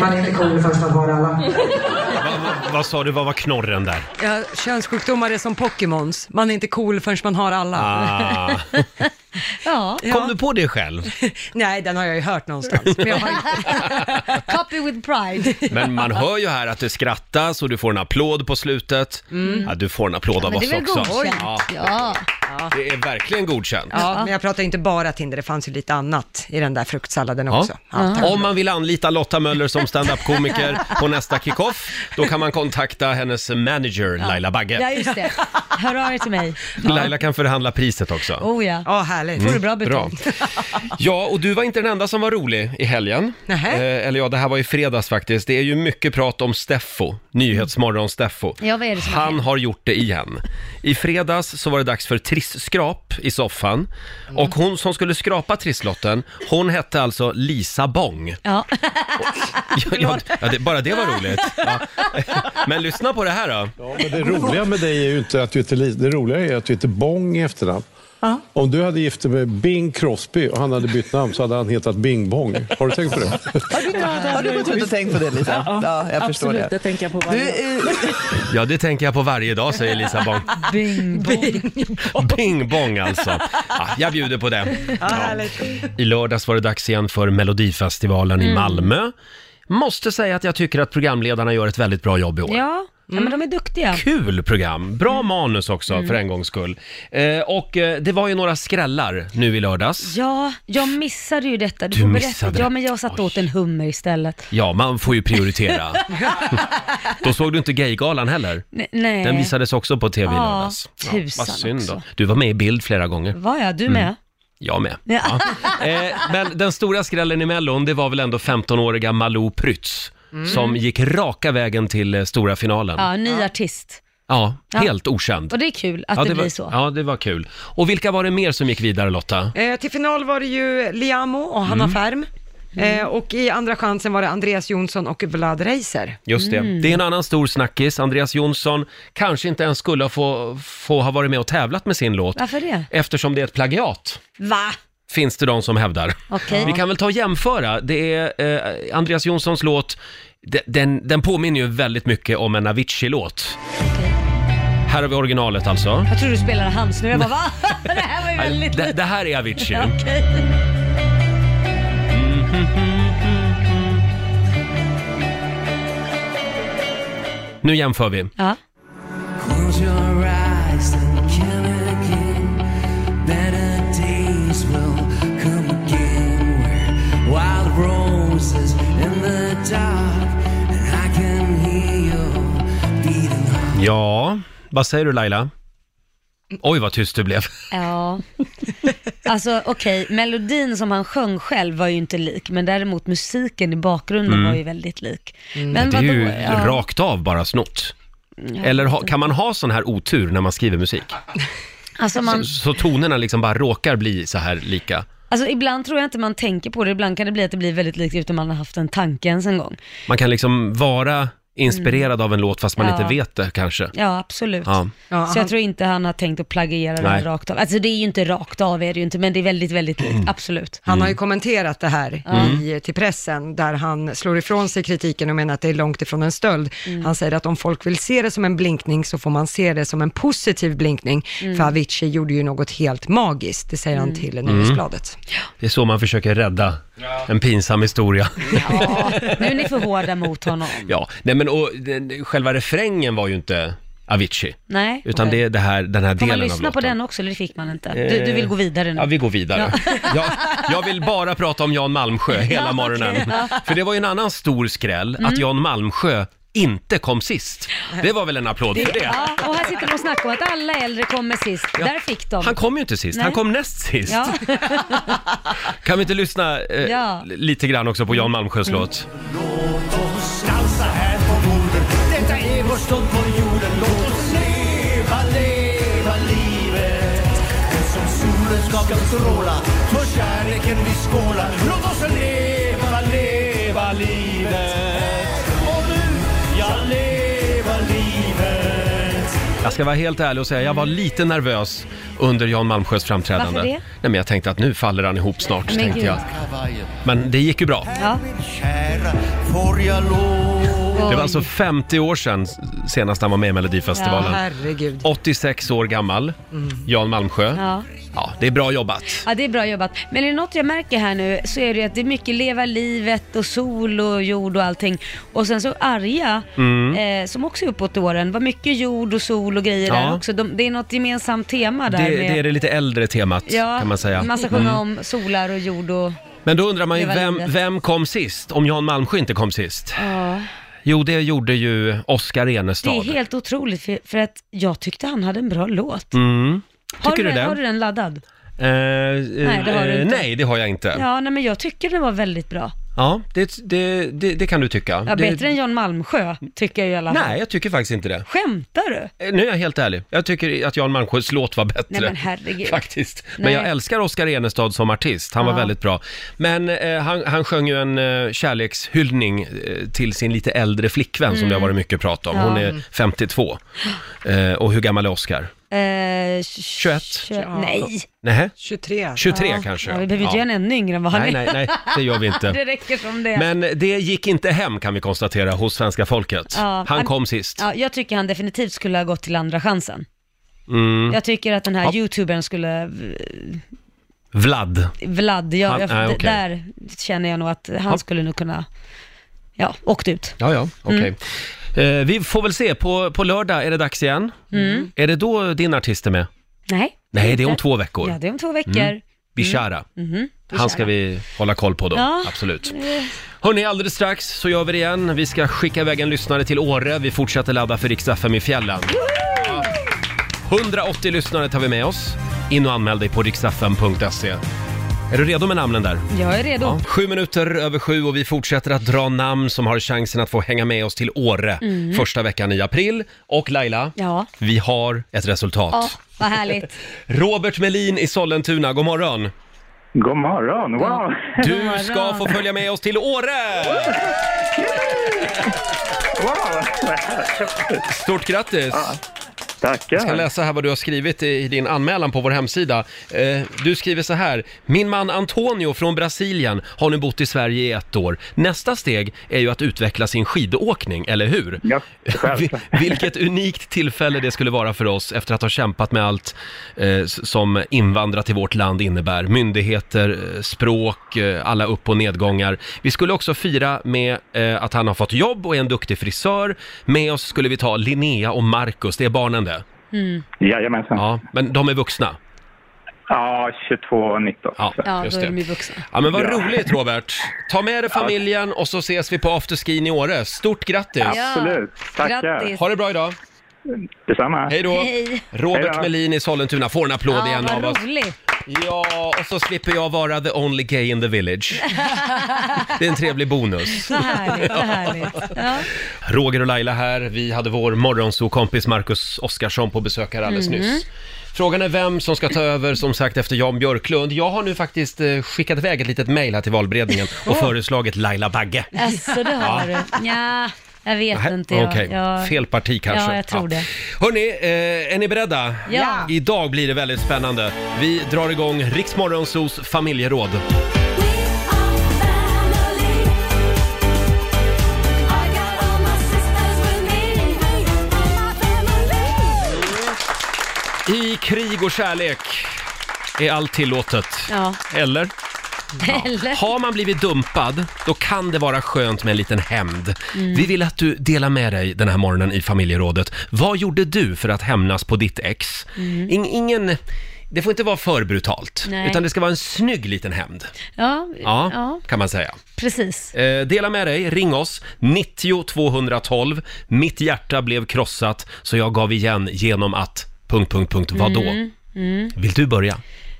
[SPEAKER 8] Man är inte cool förrän man har alla.
[SPEAKER 1] Vad, vad, vad sa du, vad var knorren där?
[SPEAKER 5] Ja, könssjukdomar är som Pokémons. Man är inte cool förrän man har alla.
[SPEAKER 1] Ah.
[SPEAKER 2] ja.
[SPEAKER 1] Kom du på det själv?
[SPEAKER 5] Nej, den har jag ju hört någonstans. Men jag har
[SPEAKER 2] Copy with pride.
[SPEAKER 1] Men man hör ju här att det skrattas och du får en applåd på slutet. Ja, du får en applåd av
[SPEAKER 2] Mm. Men det är
[SPEAKER 1] oss
[SPEAKER 2] väl
[SPEAKER 1] också.
[SPEAKER 2] godkänt?
[SPEAKER 1] Ja,
[SPEAKER 2] Ja.
[SPEAKER 1] det är verkligen godkänt.
[SPEAKER 5] ja, men jag pratar inte bara Tinder, det fanns ju lite annat i den där fruktsalladen också. Ja, tack.
[SPEAKER 1] Om man vill anlita Lotta Möller som standup-komiker på nästa kickoff, då kan man kontakta hennes manager Laila
[SPEAKER 2] ja,
[SPEAKER 1] Bagge.
[SPEAKER 2] just det. Hör av er till mig.
[SPEAKER 1] Laila kan förhandla priset också.
[SPEAKER 2] Oh ja.
[SPEAKER 5] Ja, härligt.
[SPEAKER 2] Får du bra
[SPEAKER 1] Mm. Bra.
[SPEAKER 2] betalt?
[SPEAKER 1] Ja, och du var inte den enda som var rolig i helgen.
[SPEAKER 5] Nähä.
[SPEAKER 1] Eh, eller ja, det här var i fredags faktiskt. Det är ju mycket prat om Steffo, Nyhetsmorgon Steffo.
[SPEAKER 2] Ja, vad är det som har
[SPEAKER 1] Han har gjort det igen. I fredags så var det dags för trisskrap i soffan.
[SPEAKER 2] Mm.
[SPEAKER 1] Och hon som skulle skrapa trisslotten, hon hette alltså Lisa Bong.
[SPEAKER 2] Ja.
[SPEAKER 1] Ja, ja, ja, det, bara det var roligt. Ja. Men lyssna på det här då.
[SPEAKER 9] Ja, men det roliga med dig är ju inte att du heter Lisa, det roliga är att du heter Bong i efternamn. Om du hade gift dig med Bing Crosby och han hade bytt namn så hade han hetat Bing Bong. Har du tänkt på det?
[SPEAKER 10] Har du gått ut och tänkt på det Lisa? Ja, jag förstår det. det tänker jag på varje du, eh,
[SPEAKER 1] Ja, det tänker jag på varje dag, säger Lisa Bong.
[SPEAKER 2] Bing, bong.
[SPEAKER 1] Bing Bong alltså. Ja, jag bjuder på det. I lördags var det dags igen för Melodifestivalen
[SPEAKER 2] Mm.
[SPEAKER 1] i Malmö. Måste säga att jag tycker att programledarna gör ett väldigt bra jobb i år.
[SPEAKER 2] Ja. Mm. ja, men de är duktiga.
[SPEAKER 1] Kul program, bra manus också för en gångs skull. Eh, och eh, det var ju några skrällar nu i lördags.
[SPEAKER 2] Ja, jag missade ju detta. Du,
[SPEAKER 1] Du
[SPEAKER 2] får berätta.
[SPEAKER 1] missade det.
[SPEAKER 2] Ja, men jag satt åt en hummer istället.
[SPEAKER 1] Ja, man får ju prioritera. Då såg du inte Gaygalan heller.
[SPEAKER 2] N- nej.
[SPEAKER 1] Den visades också på tv i
[SPEAKER 2] Ja,
[SPEAKER 1] lördags.
[SPEAKER 2] tusan
[SPEAKER 1] vad synd då.
[SPEAKER 2] också.
[SPEAKER 1] Du var med i bild flera gånger.
[SPEAKER 2] Var jag? Du med?
[SPEAKER 1] Mm. Jag med.
[SPEAKER 2] Ja.
[SPEAKER 1] Eh, men den stora skrällen i Mellon, det var väl ändå 15-åriga
[SPEAKER 2] Mm.
[SPEAKER 1] Malou Prytz. Som gick raka vägen till eh, stora finalen.
[SPEAKER 2] ja, ny artist.
[SPEAKER 1] Ja,
[SPEAKER 2] Ja.
[SPEAKER 1] helt okänd.
[SPEAKER 2] Och det är kul att
[SPEAKER 1] ja,
[SPEAKER 2] det,
[SPEAKER 1] var,
[SPEAKER 2] blir så.
[SPEAKER 1] Ja, det var kul. Och vilka var det mer som gick vidare Lotta?
[SPEAKER 5] Eh, till final var det ju Liamo och Hanna
[SPEAKER 1] Mm.
[SPEAKER 5] Färm. Eh, och i andra chansen var det Andreas Jonsson och Vlad Reiser.
[SPEAKER 1] Just det.
[SPEAKER 2] Mm.
[SPEAKER 1] Det är en annan stor snackis. Andreas Jonsson kanske inte ens skulle få, få ha varit med och tävlat med sin låt.
[SPEAKER 2] Varför det?
[SPEAKER 1] Eftersom det är ett plagiat,
[SPEAKER 2] Va?
[SPEAKER 1] finns det de som hävdar.
[SPEAKER 2] Okej.
[SPEAKER 1] Vi kan väl ta och jämföra. Det är eh, Andreas Jonssons låt, de- den, den påminner ju väldigt mycket om en Avicii-låt. Här har vi originalet alltså.
[SPEAKER 2] Jag tror du spelade hans nu. Jag bara va? Det här var ju väldigt
[SPEAKER 1] Det, det här är Avicii.
[SPEAKER 2] Ja, okej.
[SPEAKER 1] Nu jämför vi.
[SPEAKER 2] Ja.
[SPEAKER 11] Close your eyes and count again. Better days will come again. We're wild roses in the dark, and I can hear your beating heart.
[SPEAKER 1] Ja, vad säger du Laila? Oj, vad tyst du blev.
[SPEAKER 2] Ja. Alltså okej, melodin som han sjöng själv var ju inte lik, men däremot musiken i bakgrunden
[SPEAKER 1] Mm.
[SPEAKER 2] var ju väldigt lik.
[SPEAKER 1] det är
[SPEAKER 2] vadå?
[SPEAKER 1] ju
[SPEAKER 2] Ja.
[SPEAKER 1] rakt av bara snott. Eller ha, kan man ha sån här otur när man skriver musik?
[SPEAKER 2] Alltså, man,
[SPEAKER 1] Så, så tonerna liksom bara råkar bli så här lika.
[SPEAKER 2] alltså ibland tror jag inte man tänker på det, ibland kan det bli att det blir väldigt likt utan man har haft en tanke ens en gång.
[SPEAKER 1] Man kan liksom vara inspirerad av en låt fast man
[SPEAKER 2] Mm. Ja.
[SPEAKER 1] inte vet det kanske.
[SPEAKER 2] Ja, absolut.
[SPEAKER 1] Ja.
[SPEAKER 2] så jag tror inte han har tänkt att plagiera
[SPEAKER 1] Nej.
[SPEAKER 2] den rakt av. Alltså det är ju inte rakt av är det ju inte, men det är väldigt, väldigt
[SPEAKER 1] Mm.
[SPEAKER 2] likt, absolut.
[SPEAKER 5] Han har ju kommenterat det här
[SPEAKER 2] Mm.
[SPEAKER 5] i, till pressen, där han slår ifrån sig kritiken och menar att det är långt ifrån en stöld.
[SPEAKER 2] Mm.
[SPEAKER 5] Han säger att om folk vill se det som en blinkning så får man se det som en positiv blinkning,
[SPEAKER 2] Mm.
[SPEAKER 5] för Avicii gjorde ju något helt magiskt, det säger han till
[SPEAKER 1] Mm.
[SPEAKER 5] Nyhetsbladet.
[SPEAKER 1] Det är så man försöker rädda en pinsam historia.
[SPEAKER 2] Nu är ni för hårda mot honom.
[SPEAKER 1] Ja, nej men och den, själva refrängen var ju inte Avicii.
[SPEAKER 2] Nej,
[SPEAKER 1] Utan
[SPEAKER 2] okej.
[SPEAKER 1] det är det här, den här
[SPEAKER 2] Får man
[SPEAKER 1] delen av
[SPEAKER 2] lyssna
[SPEAKER 1] låten. Eh,
[SPEAKER 2] på den också eller det fick man inte? Du, du vill gå vidare nu?
[SPEAKER 1] Ja, vi går vidare. Jag, jag vill bara prata om Jan Malmsjö hela
[SPEAKER 2] Ja,
[SPEAKER 1] morgonen.
[SPEAKER 2] okej, ja.
[SPEAKER 1] För det var ju en annan stor skräll,
[SPEAKER 2] Mm.
[SPEAKER 1] att Jan Malmsjö inte kom sist. Det var väl en applåd för det?
[SPEAKER 2] Ja, och här sitter de och snackar om att alla äldre kommer sist. Där fick de.
[SPEAKER 1] Han kom ju inte sist, han
[SPEAKER 2] Nej.
[SPEAKER 1] kom näst sist.
[SPEAKER 2] Ja.
[SPEAKER 1] Kan vi inte lyssna eh,
[SPEAKER 2] Ja. Mm.
[SPEAKER 1] lite grann också på Jan Malmsjös låt?
[SPEAKER 11] Låt oss dansa här på borden. Detta är vår stund på jorden. Låt oss leva, leva livet. Och som solen ska kan stråla, för kärleken vi skålar. Låt oss leva, leva livet. Och nu, ja, leva livet.
[SPEAKER 1] Jag ska vara helt ärlig och säga, jag var
[SPEAKER 2] Mm.
[SPEAKER 1] lite nervös under Jan Malmsjös framträdande.
[SPEAKER 11] Varför det?
[SPEAKER 1] Nej, men jag tänkte att nu faller han ihop snart,
[SPEAKER 11] Men
[SPEAKER 1] tänkte
[SPEAKER 11] gud.
[SPEAKER 1] jag. Men det gick ju bra.
[SPEAKER 11] Här, min kära, får jag lov?
[SPEAKER 1] Det var alltså 50 år sedan senast han var med i Melodifestivalen.
[SPEAKER 5] Ja, herregud.
[SPEAKER 1] 86 år gammal, Jan Malmsjö. Ja.
[SPEAKER 2] Mm. Ja.
[SPEAKER 1] det är bra jobbat.
[SPEAKER 2] Ja, det är bra jobbat. Men är det något jag märker här nu så är det ju att det är mycket leva livet och sol och jord och allting. Och sen så arga,
[SPEAKER 1] Mm.
[SPEAKER 2] eh, som också är uppåt i åren, var mycket jord och sol och grejer
[SPEAKER 1] Ja.
[SPEAKER 2] där också. De, det är något gemensamt tema
[SPEAKER 1] Det,
[SPEAKER 2] där. med,
[SPEAKER 1] det är det lite äldre temat,
[SPEAKER 2] ja,
[SPEAKER 1] kan man säga.
[SPEAKER 2] Man ska sjunga
[SPEAKER 1] Mm.
[SPEAKER 2] om solar och jord och...
[SPEAKER 1] Men då undrar man ju,
[SPEAKER 2] Leva
[SPEAKER 1] vem,
[SPEAKER 2] livet.
[SPEAKER 1] vem kom sist? Om Jan Malmsjö inte kom sist?
[SPEAKER 2] Ja.
[SPEAKER 1] Jo, det gjorde ju Oscar
[SPEAKER 2] Det är
[SPEAKER 1] Enestad.
[SPEAKER 2] helt otroligt för, för att jag tyckte han hade en bra låt.
[SPEAKER 1] Mm.
[SPEAKER 2] Har
[SPEAKER 1] Tycker
[SPEAKER 2] du,
[SPEAKER 1] du
[SPEAKER 2] den-
[SPEAKER 1] det?
[SPEAKER 2] har du den laddad?
[SPEAKER 1] nej,
[SPEAKER 2] Nej, det har du inte.
[SPEAKER 1] Eh, nej, det har jag inte. Ja,
[SPEAKER 2] Ja, nej, men jag tycker den var väldigt bra.
[SPEAKER 1] det, det, det, det kan du tycka.
[SPEAKER 2] Ja,
[SPEAKER 1] det,
[SPEAKER 2] bättre än Jan Malmsjö, tycker jag i alla fall.
[SPEAKER 1] Nej, jag tycker faktiskt inte det.
[SPEAKER 2] Skämtar du?
[SPEAKER 1] Eh, Nu är jag helt ärlig. Jag tycker att Jan Malmsjös låt var bättre.
[SPEAKER 2] Nej men herregud.
[SPEAKER 1] Faktiskt. Men
[SPEAKER 2] Nej.
[SPEAKER 1] jag älskar Oscar Enestad som artist. Han var
[SPEAKER 2] Ja.
[SPEAKER 1] väldigt bra. Men eh, han, han sjöng ju en eh, kärlekshyllning eh, till sin lite äldre flickvän som
[SPEAKER 2] Mm.
[SPEAKER 1] det har varit mycket prat om. Hon
[SPEAKER 2] Ja.
[SPEAKER 1] är 52. Eh, och hur gammal är Oscar?
[SPEAKER 2] Eh,
[SPEAKER 1] 21?
[SPEAKER 2] Nej.
[SPEAKER 1] Nähä?
[SPEAKER 5] 23.
[SPEAKER 1] 23 kanske.
[SPEAKER 2] Ja, vi behöver inte
[SPEAKER 1] Ja.
[SPEAKER 2] göra en ännu yngre än vad han
[SPEAKER 1] Nej,
[SPEAKER 2] är.
[SPEAKER 1] nej, nej, det gör vi inte.
[SPEAKER 2] det räcker som det.
[SPEAKER 1] Men det gick inte hem kan vi konstatera hos svenska folket.
[SPEAKER 2] Ja,
[SPEAKER 1] Han
[SPEAKER 2] men-
[SPEAKER 1] kom sist.
[SPEAKER 2] Ja, jag tycker han definitivt skulle ha gått till andra chansen.
[SPEAKER 1] Mm.
[SPEAKER 2] Jag tycker att den här
[SPEAKER 1] Ja.
[SPEAKER 2] youtubern skulle, eh,
[SPEAKER 1] Vlad.
[SPEAKER 2] Vlad, jag,
[SPEAKER 1] Han-
[SPEAKER 2] jag,
[SPEAKER 1] nej,
[SPEAKER 2] d-
[SPEAKER 1] okej.
[SPEAKER 2] där känner jag nog att han
[SPEAKER 1] Ja.
[SPEAKER 2] skulle nog kunna, ja, åkt ut.
[SPEAKER 1] Ja, ja, okej.
[SPEAKER 2] Mm.
[SPEAKER 1] Eh, vi får väl se, på, på lördag är det dags igen.
[SPEAKER 2] Mm.
[SPEAKER 1] Är det då din artist är med?
[SPEAKER 2] Nej.
[SPEAKER 1] Nej, det är om
[SPEAKER 2] inte.
[SPEAKER 1] två veckor.
[SPEAKER 2] Ja, det är om två
[SPEAKER 1] Mm.
[SPEAKER 2] veckor.
[SPEAKER 1] Bishara.
[SPEAKER 2] Mhm.
[SPEAKER 1] Han ska
[SPEAKER 2] Bishara.
[SPEAKER 1] vi hålla koll på då,
[SPEAKER 2] Ja.
[SPEAKER 1] absolut.
[SPEAKER 2] Eh,
[SPEAKER 1] Hörni, alldeles strax så gör vi det igen. Vi ska skicka iväg en lyssnare till Åre. Vi fortsätter ladda för riks FM i fjällen. Ja. 180 lyssnare tar vi med oss. In och anmäl dig på riksfm.se. Är du redo med namnen där?
[SPEAKER 2] Jag är redo.
[SPEAKER 1] Ja. Sju minuter över sju och vi fortsätter att dra namn som har chansen att få hänga med oss till Åre
[SPEAKER 2] Mm.
[SPEAKER 1] första veckan i april. Och Laila,
[SPEAKER 2] Ja.
[SPEAKER 1] vi har ett resultat.
[SPEAKER 2] Ja, vad härligt.
[SPEAKER 1] Robert Melin i Sollentuna, god morgon! God morgon,
[SPEAKER 6] wow. God
[SPEAKER 1] Du
[SPEAKER 6] morgon.
[SPEAKER 1] ska få följa med oss till Åre! Stort grattis! Tackar. Jag ska läsa här vad du har skrivit i i din anmälan på vår hemsida. Eh, Du skriver så här. Min man Antonio från Brasilien har nu bott i Sverige i ett år. Nästa steg är ju att utveckla sin skidåkning, eller hur? Ja,
[SPEAKER 6] självklart.
[SPEAKER 1] Vilket unikt tillfälle det skulle vara för oss efter att ha kämpat med allt eh, s- som invandrat till vårt land innebär. Myndigheter, eh, språk, eh, alla upp och nedgångar. Vi skulle också fira med eh, att han har fått jobb och är en duktig frisör. Med oss skulle vi ta Linnea och Marcus, det är barnen det.
[SPEAKER 2] Mm.
[SPEAKER 1] Jajamensan. Ja, men de är vuxna? Ja, 22 och 19. Ja,
[SPEAKER 2] Ja,
[SPEAKER 1] just
[SPEAKER 2] då är de ju
[SPEAKER 1] det.
[SPEAKER 2] vuxna.
[SPEAKER 1] Ja, men vad
[SPEAKER 2] Ja.
[SPEAKER 1] roligt Robert! Ta med dig familjen och så ses vi på afterskin i Åre. Stort grattis!
[SPEAKER 2] Absolut. Ja, Tackar. grattis.
[SPEAKER 1] Ha det bra idag! Detsamma! Hej då!
[SPEAKER 2] Hej.
[SPEAKER 1] Robert
[SPEAKER 2] Hej då.
[SPEAKER 1] Melin i Sollentuna får en applåd igen
[SPEAKER 2] ja,
[SPEAKER 1] av oss.
[SPEAKER 2] vad roligt.
[SPEAKER 1] Ja, och så slipper jag vara the only gay in the village. Det är en trevlig bonus.
[SPEAKER 2] Vad härligt, vad härligt. Ja.
[SPEAKER 1] Roger och Laila här. Vi hade vår morgonsokompis Marcus Oskarsson på besök här alldeles
[SPEAKER 2] Mhm.
[SPEAKER 1] nyss. Frågan är vem som ska ta över, som sagt, efter Jan Björklund. Jag har nu faktiskt eh, skickat iväg ett litet mejl här till valberedningen och
[SPEAKER 2] Åh.
[SPEAKER 1] föreslagit Laila Bagge.
[SPEAKER 2] Alltså, det har
[SPEAKER 1] Ja.
[SPEAKER 2] du. Ja, jag vet
[SPEAKER 1] Nähä,
[SPEAKER 2] inte. Jag,
[SPEAKER 1] okej.
[SPEAKER 2] jag...
[SPEAKER 1] Fel parti kanske.
[SPEAKER 2] Ja, jag tror det.
[SPEAKER 1] Hörni, eh, är ni beredda?
[SPEAKER 2] Ja.
[SPEAKER 1] Idag blir det väldigt spännande. Vi drar igång Riksmorgonsos familjeråd. I krig och kärlek är allt tillåtet.
[SPEAKER 2] Ja.
[SPEAKER 1] Eller?
[SPEAKER 2] Eller?
[SPEAKER 1] Har man blivit dumpad, då kan det vara skönt med en liten hämnd.
[SPEAKER 2] Mm.
[SPEAKER 1] Vi vill att du delar med dig den här morgonen i familjerådet. Vad gjorde du för att hämnas på ditt ex?
[SPEAKER 2] Mm.
[SPEAKER 1] In, ingen... Det får inte vara för brutalt,
[SPEAKER 2] Nej.
[SPEAKER 1] utan det ska vara en snygg liten hämnd.
[SPEAKER 2] Ja,
[SPEAKER 1] Ja,
[SPEAKER 2] ja,
[SPEAKER 1] kan man säga.
[SPEAKER 2] precis.
[SPEAKER 1] Eh, dela med dig, ring oss, 90 212. Mitt hjärta blev krossat, så jag gav igen genom att... Punkt, punkt, punkt. Vadå?
[SPEAKER 2] Mm, mm.
[SPEAKER 1] Vill du börja?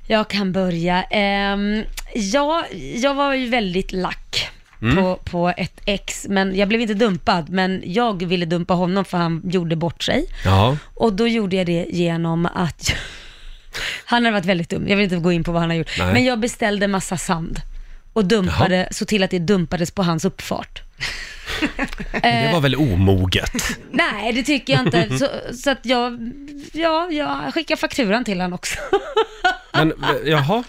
[SPEAKER 2] Jag kan börja. Ehm, ja, jag var ju väldigt lack.
[SPEAKER 1] Mm.
[SPEAKER 2] På, på ett ex, men jag blev inte dumpad, men jag ville dumpa honom för han gjorde bort sig.
[SPEAKER 1] Ja.
[SPEAKER 2] Och då gjorde jag det genom att... han har varit väldigt dum, jag vill inte gå in på vad han har gjort.
[SPEAKER 1] Nej.
[SPEAKER 2] Men jag beställde massa sand och dumpade, så till att det dumpades på hans uppfart.
[SPEAKER 1] Det var väl omoget?
[SPEAKER 2] Nej, det tycker jag inte. Så, så att jag, ja, jag skickar fakturan till honom också.
[SPEAKER 1] Men, v- jaha?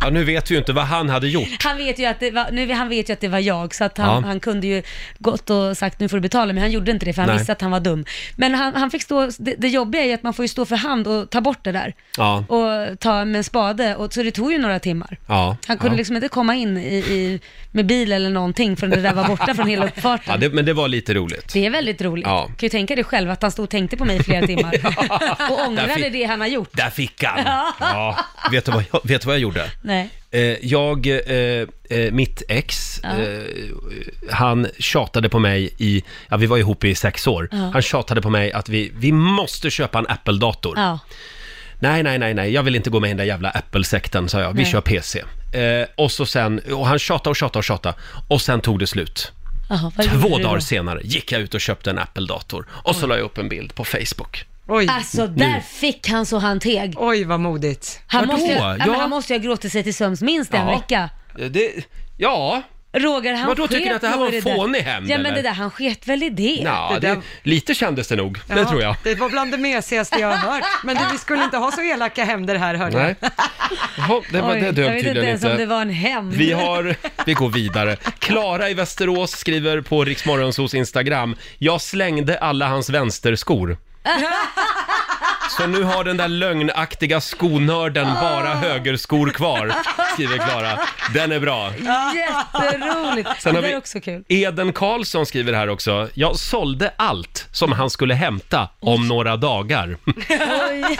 [SPEAKER 1] Ja, nu vet vi ju inte vad han hade gjort.
[SPEAKER 2] Han vet ju att det var, nu, han vet ju att det var jag, så att han,
[SPEAKER 1] Ja.
[SPEAKER 2] han kunde ju gått och sagt nu får du betala, men han gjorde inte det för han
[SPEAKER 1] Nej.
[SPEAKER 2] visste att han var dum. Men han, han fick stå, det, det jobbiga är ju att man får ju stå för hand och ta bort det där.
[SPEAKER 1] Ja.
[SPEAKER 2] Och ta med en spade, och, så det tog ju några timmar.
[SPEAKER 1] Ja.
[SPEAKER 2] Han kunde
[SPEAKER 1] ja.
[SPEAKER 2] liksom inte komma in i, i, med bil eller någonting förrän det där var borta från hela uppfarten.
[SPEAKER 1] Ja, det, men det var lite roligt.
[SPEAKER 2] Det är väldigt roligt.
[SPEAKER 1] Ja.
[SPEAKER 2] Kan ju tänka dig själv att han stod och tänkte på mig i flera timmar. och
[SPEAKER 1] Där
[SPEAKER 2] ångrade
[SPEAKER 1] fick-
[SPEAKER 2] det han har gjort.
[SPEAKER 1] Där fick han!
[SPEAKER 2] Ja.
[SPEAKER 1] Ja. Vet, du vad jag, vet du vad jag gjorde?
[SPEAKER 2] Nej.
[SPEAKER 1] Eh, Jag, eh, eh, mitt ex,
[SPEAKER 2] Ja.
[SPEAKER 1] eh, han tjatade på mig i, ja vi var ihop i sex år,
[SPEAKER 2] Ja.
[SPEAKER 1] han tjatade på mig att vi, vi måste köpa en Apple-dator.
[SPEAKER 2] Ja.
[SPEAKER 1] Nej, nej, nej, nej, jag vill inte gå med i den där jävla Apple-sekten, sa jag. Vi
[SPEAKER 2] Nej.
[SPEAKER 1] kör PC. Eh, och så sen, och han tjatade och tjatade och tjatade. Och sen tog det slut.
[SPEAKER 2] Jaha, vad gjorde
[SPEAKER 1] Två
[SPEAKER 2] du då?
[SPEAKER 1] dagar senare gick jag ut och köpte en Apple-dator. Och så la jag upp en bild på Facebook. Äh.
[SPEAKER 2] Alltså där
[SPEAKER 1] Nu.
[SPEAKER 2] fick han så han teg.
[SPEAKER 5] Oj, vad modigt.
[SPEAKER 2] Han
[SPEAKER 1] Vadå?
[SPEAKER 2] måste, ju- ja.
[SPEAKER 1] Ja.
[SPEAKER 2] men han måste ju ha gråtit sig till sömns minst en
[SPEAKER 1] Ja.
[SPEAKER 2] vecka.
[SPEAKER 1] Eh, Det, ja.
[SPEAKER 2] Roger, han
[SPEAKER 1] Vadå,
[SPEAKER 2] sket
[SPEAKER 1] tycker du att det här
[SPEAKER 2] nog
[SPEAKER 1] var
[SPEAKER 2] i
[SPEAKER 1] en
[SPEAKER 2] där.
[SPEAKER 1] fånig hämnd,
[SPEAKER 2] Ja men
[SPEAKER 1] eller?
[SPEAKER 2] det där, han sket väl i det?
[SPEAKER 1] Ja, det, lite kändes det nog. Det tror jag.
[SPEAKER 5] Det var bland det mesigaste jag har hört. Men du, vi skulle inte ha så elaka hämnder här, hörde
[SPEAKER 1] Nej. Jaha, det, var,
[SPEAKER 2] Oj,
[SPEAKER 1] det
[SPEAKER 2] jag
[SPEAKER 1] dög
[SPEAKER 2] vet inte
[SPEAKER 1] tydligen
[SPEAKER 2] ens
[SPEAKER 1] inte.
[SPEAKER 2] om det var en hämnd.
[SPEAKER 1] Vi har, vi går vidare. Klara i Västerås skriver på Riksmorgonsos Instagram. Jag slängde alla hans vänsterskor. Så nu har den där lögnaktiga skonörden bara högerskor kvar, skriver Klara. Den är bra.
[SPEAKER 2] Jätteroligt.
[SPEAKER 1] Sen
[SPEAKER 2] det
[SPEAKER 1] har
[SPEAKER 2] där
[SPEAKER 1] vi-
[SPEAKER 2] är också kul.
[SPEAKER 1] Eden Karlsson skriver här också. Jag sålde allt som han skulle hämta om några dagar.
[SPEAKER 2] Oj.